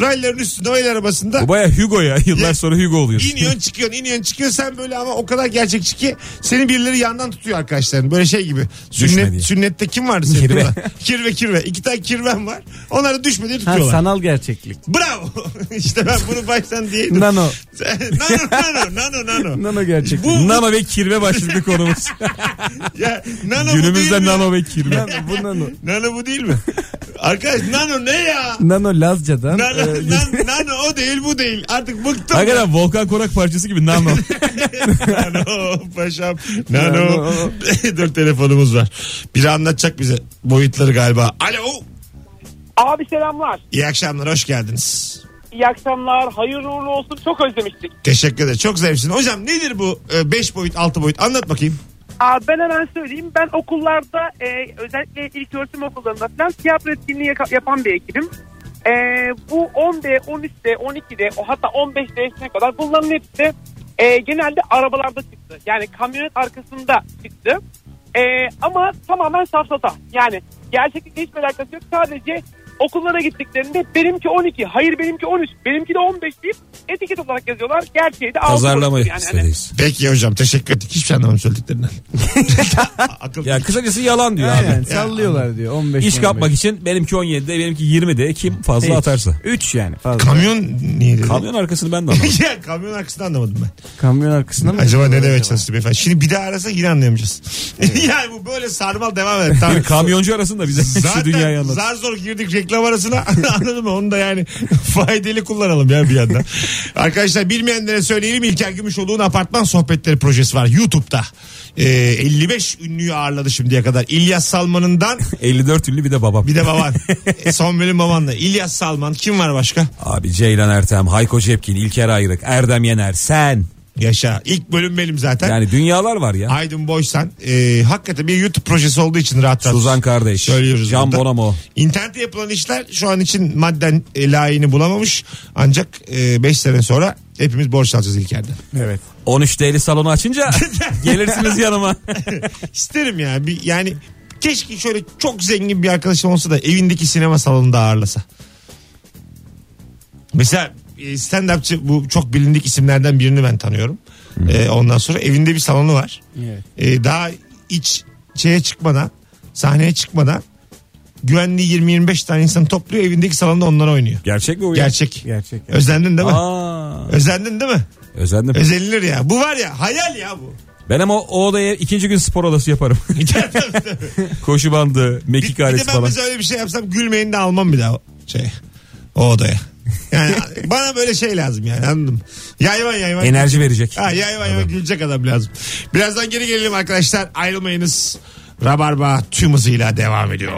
[SPEAKER 2] Rayların üstünde o el arabasında
[SPEAKER 3] Bu baya Hugo ya. Yıllar
[SPEAKER 2] Ya-
[SPEAKER 3] sonra Hugo oluyorsun.
[SPEAKER 2] iniyorsun çıkıyorsun iniyorsun çıkıyorsun sen böyle ama o kadar gerçekçi ki seni birileri yandan tutuyor arkadaşların. Böyle şey gibi.
[SPEAKER 3] diye.
[SPEAKER 2] Sünnet, sünnette kim vardı senin?
[SPEAKER 3] Kirve.
[SPEAKER 2] Kirve. kirve kirve. İki tane kirven var. Onları düşme diye
[SPEAKER 4] Ha,
[SPEAKER 2] tutuyorlar.
[SPEAKER 4] sanal gerçeklik.
[SPEAKER 2] Bravo. işte ben bunu baştan diyeydim.
[SPEAKER 4] Nano.
[SPEAKER 2] nano nano nano nano.
[SPEAKER 4] Nano gerçeklik.
[SPEAKER 2] Bu-
[SPEAKER 3] Nano ve kirve başladı konumuz.
[SPEAKER 2] Ya, nano bu değil
[SPEAKER 3] Günümüzde
[SPEAKER 2] mi?
[SPEAKER 3] nano ve kirve.
[SPEAKER 4] Nano, bu nano.
[SPEAKER 2] Nano bu değil mi? Arkadaş nano ne ya?
[SPEAKER 4] Nano Lazca'dan.
[SPEAKER 2] Nano,
[SPEAKER 4] e,
[SPEAKER 2] nan- nano o değil bu değil. Artık bıktım.
[SPEAKER 3] Ee, Hakikaten Volkan Konak parçası gibi nano.
[SPEAKER 2] nano paşam. Nano.
[SPEAKER 4] Nano.
[SPEAKER 2] Dur telefonumuz var. Biri anlatacak bize boyutları galiba. Alo.
[SPEAKER 9] Abi selamlar.
[SPEAKER 2] İyi akşamlar hoş geldiniz.
[SPEAKER 9] İyi akşamlar. Hayırlı uğurlu olsun. Çok özlemiştik.
[SPEAKER 2] Teşekkür ederim. Çok zevksin. Hocam nedir bu 5 boyut 6 boyut? Anlat bakayım.
[SPEAKER 9] Aa, ben hemen söyleyeyim. Ben okullarda e, özellikle ilk öğretim okullarında falan tiyatro etkinliği yaka- yapan bir ekibim. E, bu 10D, 13D, 12D o hatta 15D'sine kadar bunların hepsi de, e, genelde arabalarda çıktı. Yani kamyonet arkasında çıktı. E, ama tamamen safsata. Yani gerçeklikle hiçbir alakası yok. Sadece okullara gittiklerinde benimki 12, hayır benimki 13, benimki de 15 deyip etiket olarak yazıyorlar. Gerçeği de altı
[SPEAKER 3] Pazarlama
[SPEAKER 9] boyutlu yani. Hani-
[SPEAKER 3] istedeyiz.
[SPEAKER 2] Peki hocam teşekkür ettik. Hiçbir şey anlamam söylediklerinden. Akıl
[SPEAKER 3] Ya kısacası yalan diyor
[SPEAKER 4] Aynen
[SPEAKER 3] abi.
[SPEAKER 4] sallıyorlar diyor. 15
[SPEAKER 3] İş kapmak için benimki 17'de benimki 20'de kim fazla atarsa.
[SPEAKER 4] 3 yani fazla.
[SPEAKER 2] Kamyon niye dedi?
[SPEAKER 3] Kamyon arkasını ben de anlamadım.
[SPEAKER 2] ya kamyon arkasını anlamadım ben.
[SPEAKER 4] Kamyon arkasında mı?
[SPEAKER 2] Acaba ne demek çalıştı beyefendi? Şimdi bir daha arasa yine anlayamayacağız. yani bu böyle sarmal devam eder. Tamam.
[SPEAKER 3] Bir kamyoncu arasında bize şu dünyayı
[SPEAKER 2] Zaten
[SPEAKER 3] anlat.
[SPEAKER 2] zar zor girdik reklam arasına anladın mı? Onu da yani faydalı kullanalım ya bir yandan. Arkadaşlar bilmeyenlere söyleyelim İlker Gümüşoğlu'nun apartman sohbetleri projesi var YouTube'da. Ee, 55 ünlüyü ağırladı şimdiye kadar. İlyas Salman'ından
[SPEAKER 3] 54 ünlü bir de babam.
[SPEAKER 2] bir de baban. E, Son bölüm babanla. İlyas Salman kim var başka?
[SPEAKER 3] Abi Ceylan Ertem, Hayko Cepkin, İlker Ayrık, Erdem Yener, sen.
[SPEAKER 2] Yaşa. İlk bölüm benim zaten.
[SPEAKER 3] Yani dünyalar var ya.
[SPEAKER 2] Aydın Boysan. Ee, hakikaten bir YouTube projesi olduğu için rahat rahat.
[SPEAKER 3] Suzan kardeş.
[SPEAKER 2] Söylüyoruz
[SPEAKER 3] Can
[SPEAKER 2] burada.
[SPEAKER 3] Bonomo.
[SPEAKER 2] İnternette yapılan işler şu an için madden e, layığını bulamamış. Ancak 5 sene sonra hepimiz borç alacağız İlker'den.
[SPEAKER 4] Evet.
[SPEAKER 3] 13 deli salonu açınca gelirsiniz yanıma.
[SPEAKER 2] İsterim ya. Bir, yani keşke şöyle çok zengin bir arkadaşım olsa da evindeki sinema salonunda ağırlasa. Mesela e, stand-upçı bu çok bilindik isimlerden birini ben tanıyorum. E, ondan sonra evinde bir salonu var.
[SPEAKER 4] Evet.
[SPEAKER 2] e, daha iç şeye çıkmadan sahneye çıkmadan güvenliği 20-25 tane insanı topluyor evindeki salonda onlar oynuyor.
[SPEAKER 3] Gerçek mi bu ya?
[SPEAKER 2] Gerçek.
[SPEAKER 4] Gerçek.
[SPEAKER 2] Özlendin değil mi?
[SPEAKER 3] Aa,
[SPEAKER 2] Özlendin değil mi?
[SPEAKER 3] özendim.
[SPEAKER 2] Özenilir ya. Bu var ya hayal ya bu.
[SPEAKER 3] Ben ama o odaya ikinci gün spor odası yaparım. Koşu bandı,
[SPEAKER 2] Bir,
[SPEAKER 3] mekik
[SPEAKER 2] bir de
[SPEAKER 3] aleti
[SPEAKER 2] ben
[SPEAKER 3] falan.
[SPEAKER 2] mesela öyle bir şey yapsam gülmeyin de almam bir daha şey o odaya. Yani bana böyle şey lazım yani anladın mı? Yayvan yayvan.
[SPEAKER 3] Enerji verecek.
[SPEAKER 2] Ha, yay vay vay gülecek adam lazım. Birazdan geri gelelim arkadaşlar. Ayrılmayınız. Rabarba tüm hızıyla devam ediyor.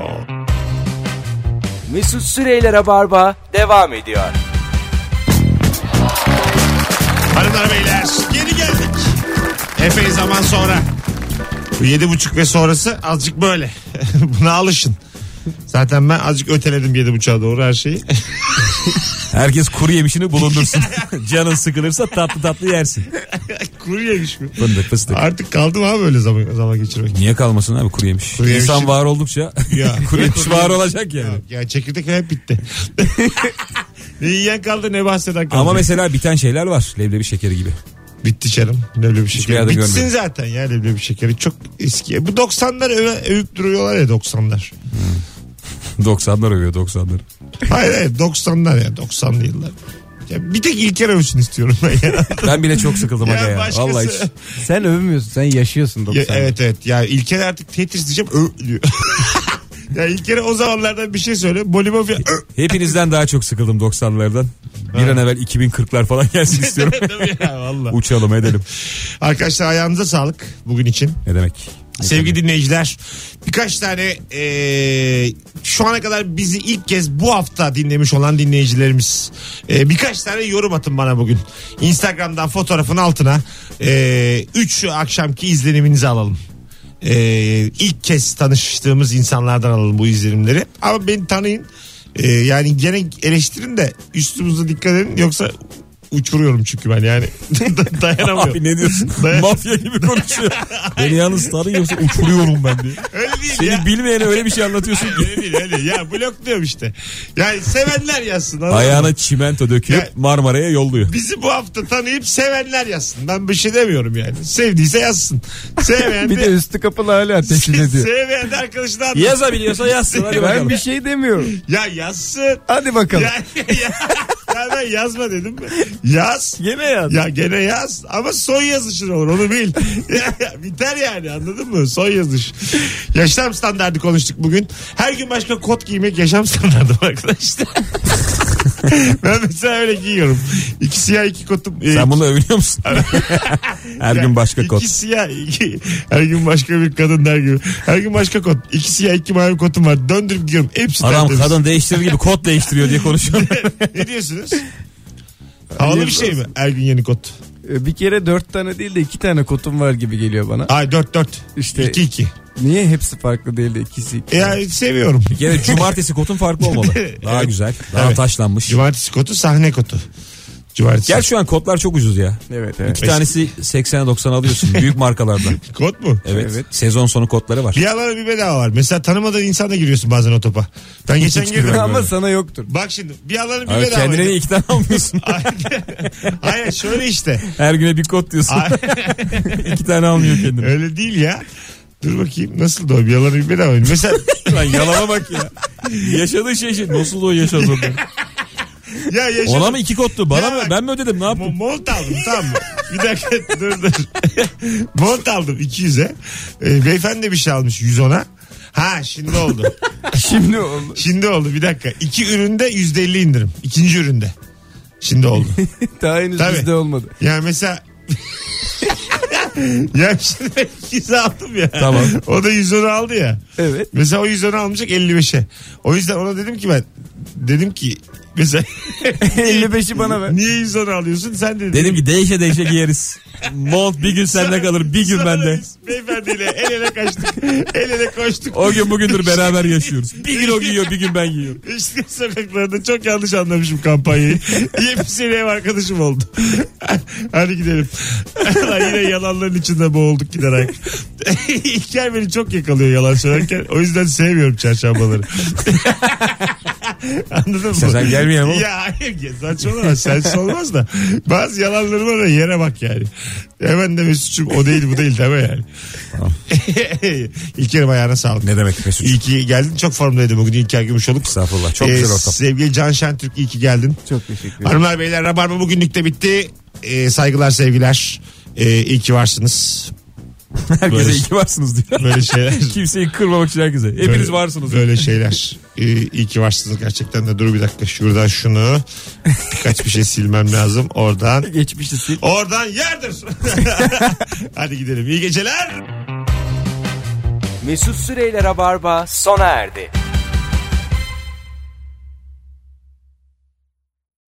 [SPEAKER 1] Mesut Süreyler'e barba devam ediyor.
[SPEAKER 2] Hanımlar beyler geri geldik. Epey zaman sonra. Bu yedi buçuk ve sonrası azıcık böyle. Buna alışın. Zaten ben azıcık öteledim yedi buçuğa doğru her şeyi.
[SPEAKER 3] Herkes kuru yemişini bulundursun. Canın sıkılırsa tatlı tatlı yersin.
[SPEAKER 2] Kuru yemiş mi?
[SPEAKER 3] Fındık fıstık.
[SPEAKER 2] Artık kaldım abi böyle zaman, zaman geçirmek.
[SPEAKER 3] Niye kalmasın abi kuru yemiş?
[SPEAKER 2] Kuru yemiş-
[SPEAKER 3] İnsan var oldukça
[SPEAKER 2] Ya.
[SPEAKER 3] kuru yemiş var olacak yani.
[SPEAKER 2] Ya, ya çekirdek hep bitti. ne yiyen kaldı ne bahseden kaldı.
[SPEAKER 3] Ama mesela biten şeyler var. Leblebi şekeri gibi.
[SPEAKER 2] Bitti canım. Leblebi şekeri.
[SPEAKER 3] yerde
[SPEAKER 2] Bitsin
[SPEAKER 3] görmedim.
[SPEAKER 2] zaten ya leblebi şekeri. Çok eski. Bu 90'lar öve- övüp duruyorlar ya 90'lar.
[SPEAKER 3] 90'lar övüyor 90'lar.
[SPEAKER 2] Hayır hayır 90'lar ya 90'lı yıllar. Ya bir tek İlker övsün istiyorum ben ya.
[SPEAKER 3] Ben bile çok sıkıldım
[SPEAKER 2] Ya
[SPEAKER 3] aga ya.
[SPEAKER 2] başkası-
[SPEAKER 3] Vallahi hiç.
[SPEAKER 4] Sen övmüyorsun sen yaşıyorsun
[SPEAKER 2] Ya
[SPEAKER 4] 90.
[SPEAKER 2] evet evet. Ya İlker artık Tetris diyeceğim ö diyor. ya İlker'e o zamanlardan bir şey söyle. Bolibov ya ö.
[SPEAKER 3] Hepinizden daha çok sıkıldım 90'lardan. Bir an evvel 2040'lar falan gelsin istiyorum.
[SPEAKER 2] Değil mi ya valla.
[SPEAKER 3] Uçalım edelim.
[SPEAKER 2] Arkadaşlar ayağınıza sağlık bugün için.
[SPEAKER 3] Ne demek?
[SPEAKER 2] Sevgili dinleyiciler birkaç tane e, şu ana kadar bizi ilk kez bu hafta dinlemiş olan dinleyicilerimiz e, birkaç tane yorum atın bana bugün. Instagram'dan fotoğrafın altına 3 akşamki izleniminizi alalım. E, ilk kez tanıştığımız insanlardan alalım bu izlenimleri ama beni tanıyın. E, yani gene eleştirin de üstümüze dikkat edin yoksa uçuruyorum çünkü ben yani dayanamıyorum.
[SPEAKER 3] Abi ne diyorsun?
[SPEAKER 2] Dayan-
[SPEAKER 3] Mafya gibi konuşuyor. Beni yalnız tanı yoksa uçuruyorum ben diye.
[SPEAKER 2] Öyle değil ya.
[SPEAKER 3] Seni bilmeyene öyle bir şey anlatıyorsun
[SPEAKER 2] Hayır,
[SPEAKER 3] ki.
[SPEAKER 2] öyle değil öyle. Ya blokluyorum işte. Yani sevenler yazsın. anladın mı?
[SPEAKER 3] Ayağına çimento
[SPEAKER 2] Ya-
[SPEAKER 3] döküp Marmara'ya yolluyor.
[SPEAKER 2] Bizi bu hafta tanıyıp sevenler yazsın. Ben bir şey demiyorum yani. Sevdiyse yazsın. Sevmeyen
[SPEAKER 4] Bir de
[SPEAKER 2] de,
[SPEAKER 4] üstü kapalı hala ateşin ediyor.
[SPEAKER 2] sevmeyen de arkadaşına anlat.
[SPEAKER 3] Yazabiliyorsa yazsın hadi
[SPEAKER 4] Ben
[SPEAKER 3] bakalım.
[SPEAKER 4] bir şey demiyorum.
[SPEAKER 2] Ya yazsın.
[SPEAKER 4] Hadi bakalım.
[SPEAKER 2] Ya, ya, ya ben yazma dedim. mi? Yaz.
[SPEAKER 4] Gene yaz.
[SPEAKER 2] Ya gene yaz ama son yazışın olur onu bil. Ya, ya, biter yani anladın mı? Son yazış. Yaşam standardı konuştuk bugün. Her gün başka kot giymek yaşam standardı var arkadaşlar. ben mesela öyle giyiyorum. İki siyah iki kotum. e,
[SPEAKER 3] Sen bunu övünüyor musun? Her
[SPEAKER 2] ya,
[SPEAKER 3] gün başka
[SPEAKER 2] iki
[SPEAKER 3] kod.
[SPEAKER 2] siyah iki, her gün başka bir kadın der gibi. Her gün başka kot. İki siyah iki mavi kotum var. Döndürüp giyiyorum. Hepsi
[SPEAKER 3] Adam
[SPEAKER 2] tertemiz.
[SPEAKER 3] kadın değiştirir gibi kod değiştiriyor diye konuşuyor.
[SPEAKER 2] ne diyorsunuz? Havalı bir şey mi? Her gün yeni kot.
[SPEAKER 4] Ee, Bir kere dört tane değil de iki tane kotum var gibi geliyor bana.
[SPEAKER 2] Ay dört dört.
[SPEAKER 4] İşte-
[SPEAKER 2] İki iki.
[SPEAKER 4] Niye hepsi farklı değil de ikisi iki?
[SPEAKER 3] E,
[SPEAKER 2] Ya seviyorum.
[SPEAKER 3] Bir kere cumartesi kotun farklı olmalı. Daha
[SPEAKER 2] Evet.
[SPEAKER 3] güzel. Daha
[SPEAKER 2] Evet.
[SPEAKER 3] taşlanmış.
[SPEAKER 2] Cumartesi kotu sahne kotu. Cumartesi.
[SPEAKER 3] Gel şu an kodlar çok ucuz ya.
[SPEAKER 4] Evet evet.
[SPEAKER 3] Bir tanesi 80-90 alıyorsun büyük markalardan.
[SPEAKER 2] Kot mu?
[SPEAKER 3] Evet.
[SPEAKER 4] Evet.
[SPEAKER 3] Sezon sonu kodları var.
[SPEAKER 2] Bir alana bir bedava var. Mesela tanımadığın insanla giriyorsun bazen o topa. Ben geçen
[SPEAKER 3] Hiç
[SPEAKER 2] girdim.
[SPEAKER 3] girmem.
[SPEAKER 4] Ama sana yoktur.
[SPEAKER 2] Bak şimdi bir alana bir
[SPEAKER 3] Abi
[SPEAKER 2] bedava.
[SPEAKER 3] kendine iki tane almıyorsun.
[SPEAKER 2] Hayır şöyle işte.
[SPEAKER 3] Her güne bir kod diyorsun.
[SPEAKER 2] Ay-
[SPEAKER 3] iki tane almıyor kendine.
[SPEAKER 2] Öyle değil ya. Dur bakayım nasıl da o bir alana bir bedava. Mesela
[SPEAKER 3] Lan yalana bak ya. Yaşadığı şey şey. Nasıl o yaşadı?
[SPEAKER 2] ya yaşa.
[SPEAKER 3] Ona mı iki kodlu? Bana
[SPEAKER 2] Ya
[SPEAKER 3] mı?
[SPEAKER 2] bak-
[SPEAKER 3] Ben mi ödedim? Ne
[SPEAKER 2] Mo-
[SPEAKER 3] yaptım?
[SPEAKER 2] mont aldım tamam mı? Bir dakika dur dur. mont aldım 200'e. Ee, beyefendi de bir şey almış 110'a. Ha şimdi oldu.
[SPEAKER 4] Şimdi oldu.
[SPEAKER 2] Şimdi oldu bir dakika. İki üründe %50 indirim. İkinci üründe. Şimdi oldu.
[SPEAKER 4] Daha henüz
[SPEAKER 2] Tabii.
[SPEAKER 4] bizde olmadı.
[SPEAKER 2] Yani mesela ya şimdi ben 200 aldım ya.
[SPEAKER 3] Tamam.
[SPEAKER 2] O da 110 aldı ya.
[SPEAKER 4] Evet.
[SPEAKER 2] Mesela o 110 almayacak 55'e. O yüzden ona dedim ki ben dedim ki mesela
[SPEAKER 3] E,
[SPEAKER 4] 55'i bana ver.
[SPEAKER 2] niye 110 alıyorsun sen de
[SPEAKER 3] Dedim ki değişe değişe giyeriz. Mont bir gün sende kalır bir gün
[SPEAKER 2] Sonra
[SPEAKER 3] bende.
[SPEAKER 2] biz Beyefendiyle el ele kaçtık. el ele koştuk.
[SPEAKER 3] O gün bugündür beraber yaşıyoruz. Bir gün o giyiyor bir gün ben giyiyorum.
[SPEAKER 2] İşte sokaklarda çok yanlış anlamışım kampanyayı. Diye bir sene ev arkadaşım oldu. Hadi gidelim. Lan yine yalanların içinde boğulduk giderek. İlker beni çok yakalıyor yalan söylerken. O yüzden sevmiyorum çarşambaları. Anladın mı?
[SPEAKER 3] sen gelmeyelim oğlum.
[SPEAKER 2] Ya hayır ya saçmalama sensiz olmaz da. Bazı yalanları var ya yere bak yani. Hemen de Mesut'cum o değil bu değil deme yani. İlker'im ayağına sağlık.
[SPEAKER 3] Ne demek Mesut?
[SPEAKER 2] İyi ki geldin. Çok formdaydı bugün İlker Gümüşoluk.
[SPEAKER 3] Estağfurullah. Çok güzel ortam.
[SPEAKER 2] Ee, Sevgili Can Şentürk iyi ki geldin.
[SPEAKER 4] Çok teşekkür ederim.
[SPEAKER 2] Hanımlar beyler Rabarba bugünlük de bitti. Ee, saygılar sevgiler. Ee, iyi ki varsınız.
[SPEAKER 3] Herkese
[SPEAKER 2] Böyle-
[SPEAKER 3] iyi ki varsınız diyor.
[SPEAKER 2] Böyle şeyler.
[SPEAKER 3] Kimseyi kırmamak için herkese. Hepiniz
[SPEAKER 2] Böyle-
[SPEAKER 3] varsınız.
[SPEAKER 2] Böyle şeyler. Ee, iyi ki varsınız gerçekten de. Dur bir dakika şuradan şunu. Birkaç bir şey silmem lazım. Oradan.
[SPEAKER 4] Geçmişi sil.
[SPEAKER 2] Oradan yerdir. Hadi gidelim. İyi geceler.
[SPEAKER 1] Mesut Süreyler'e barba sona erdi.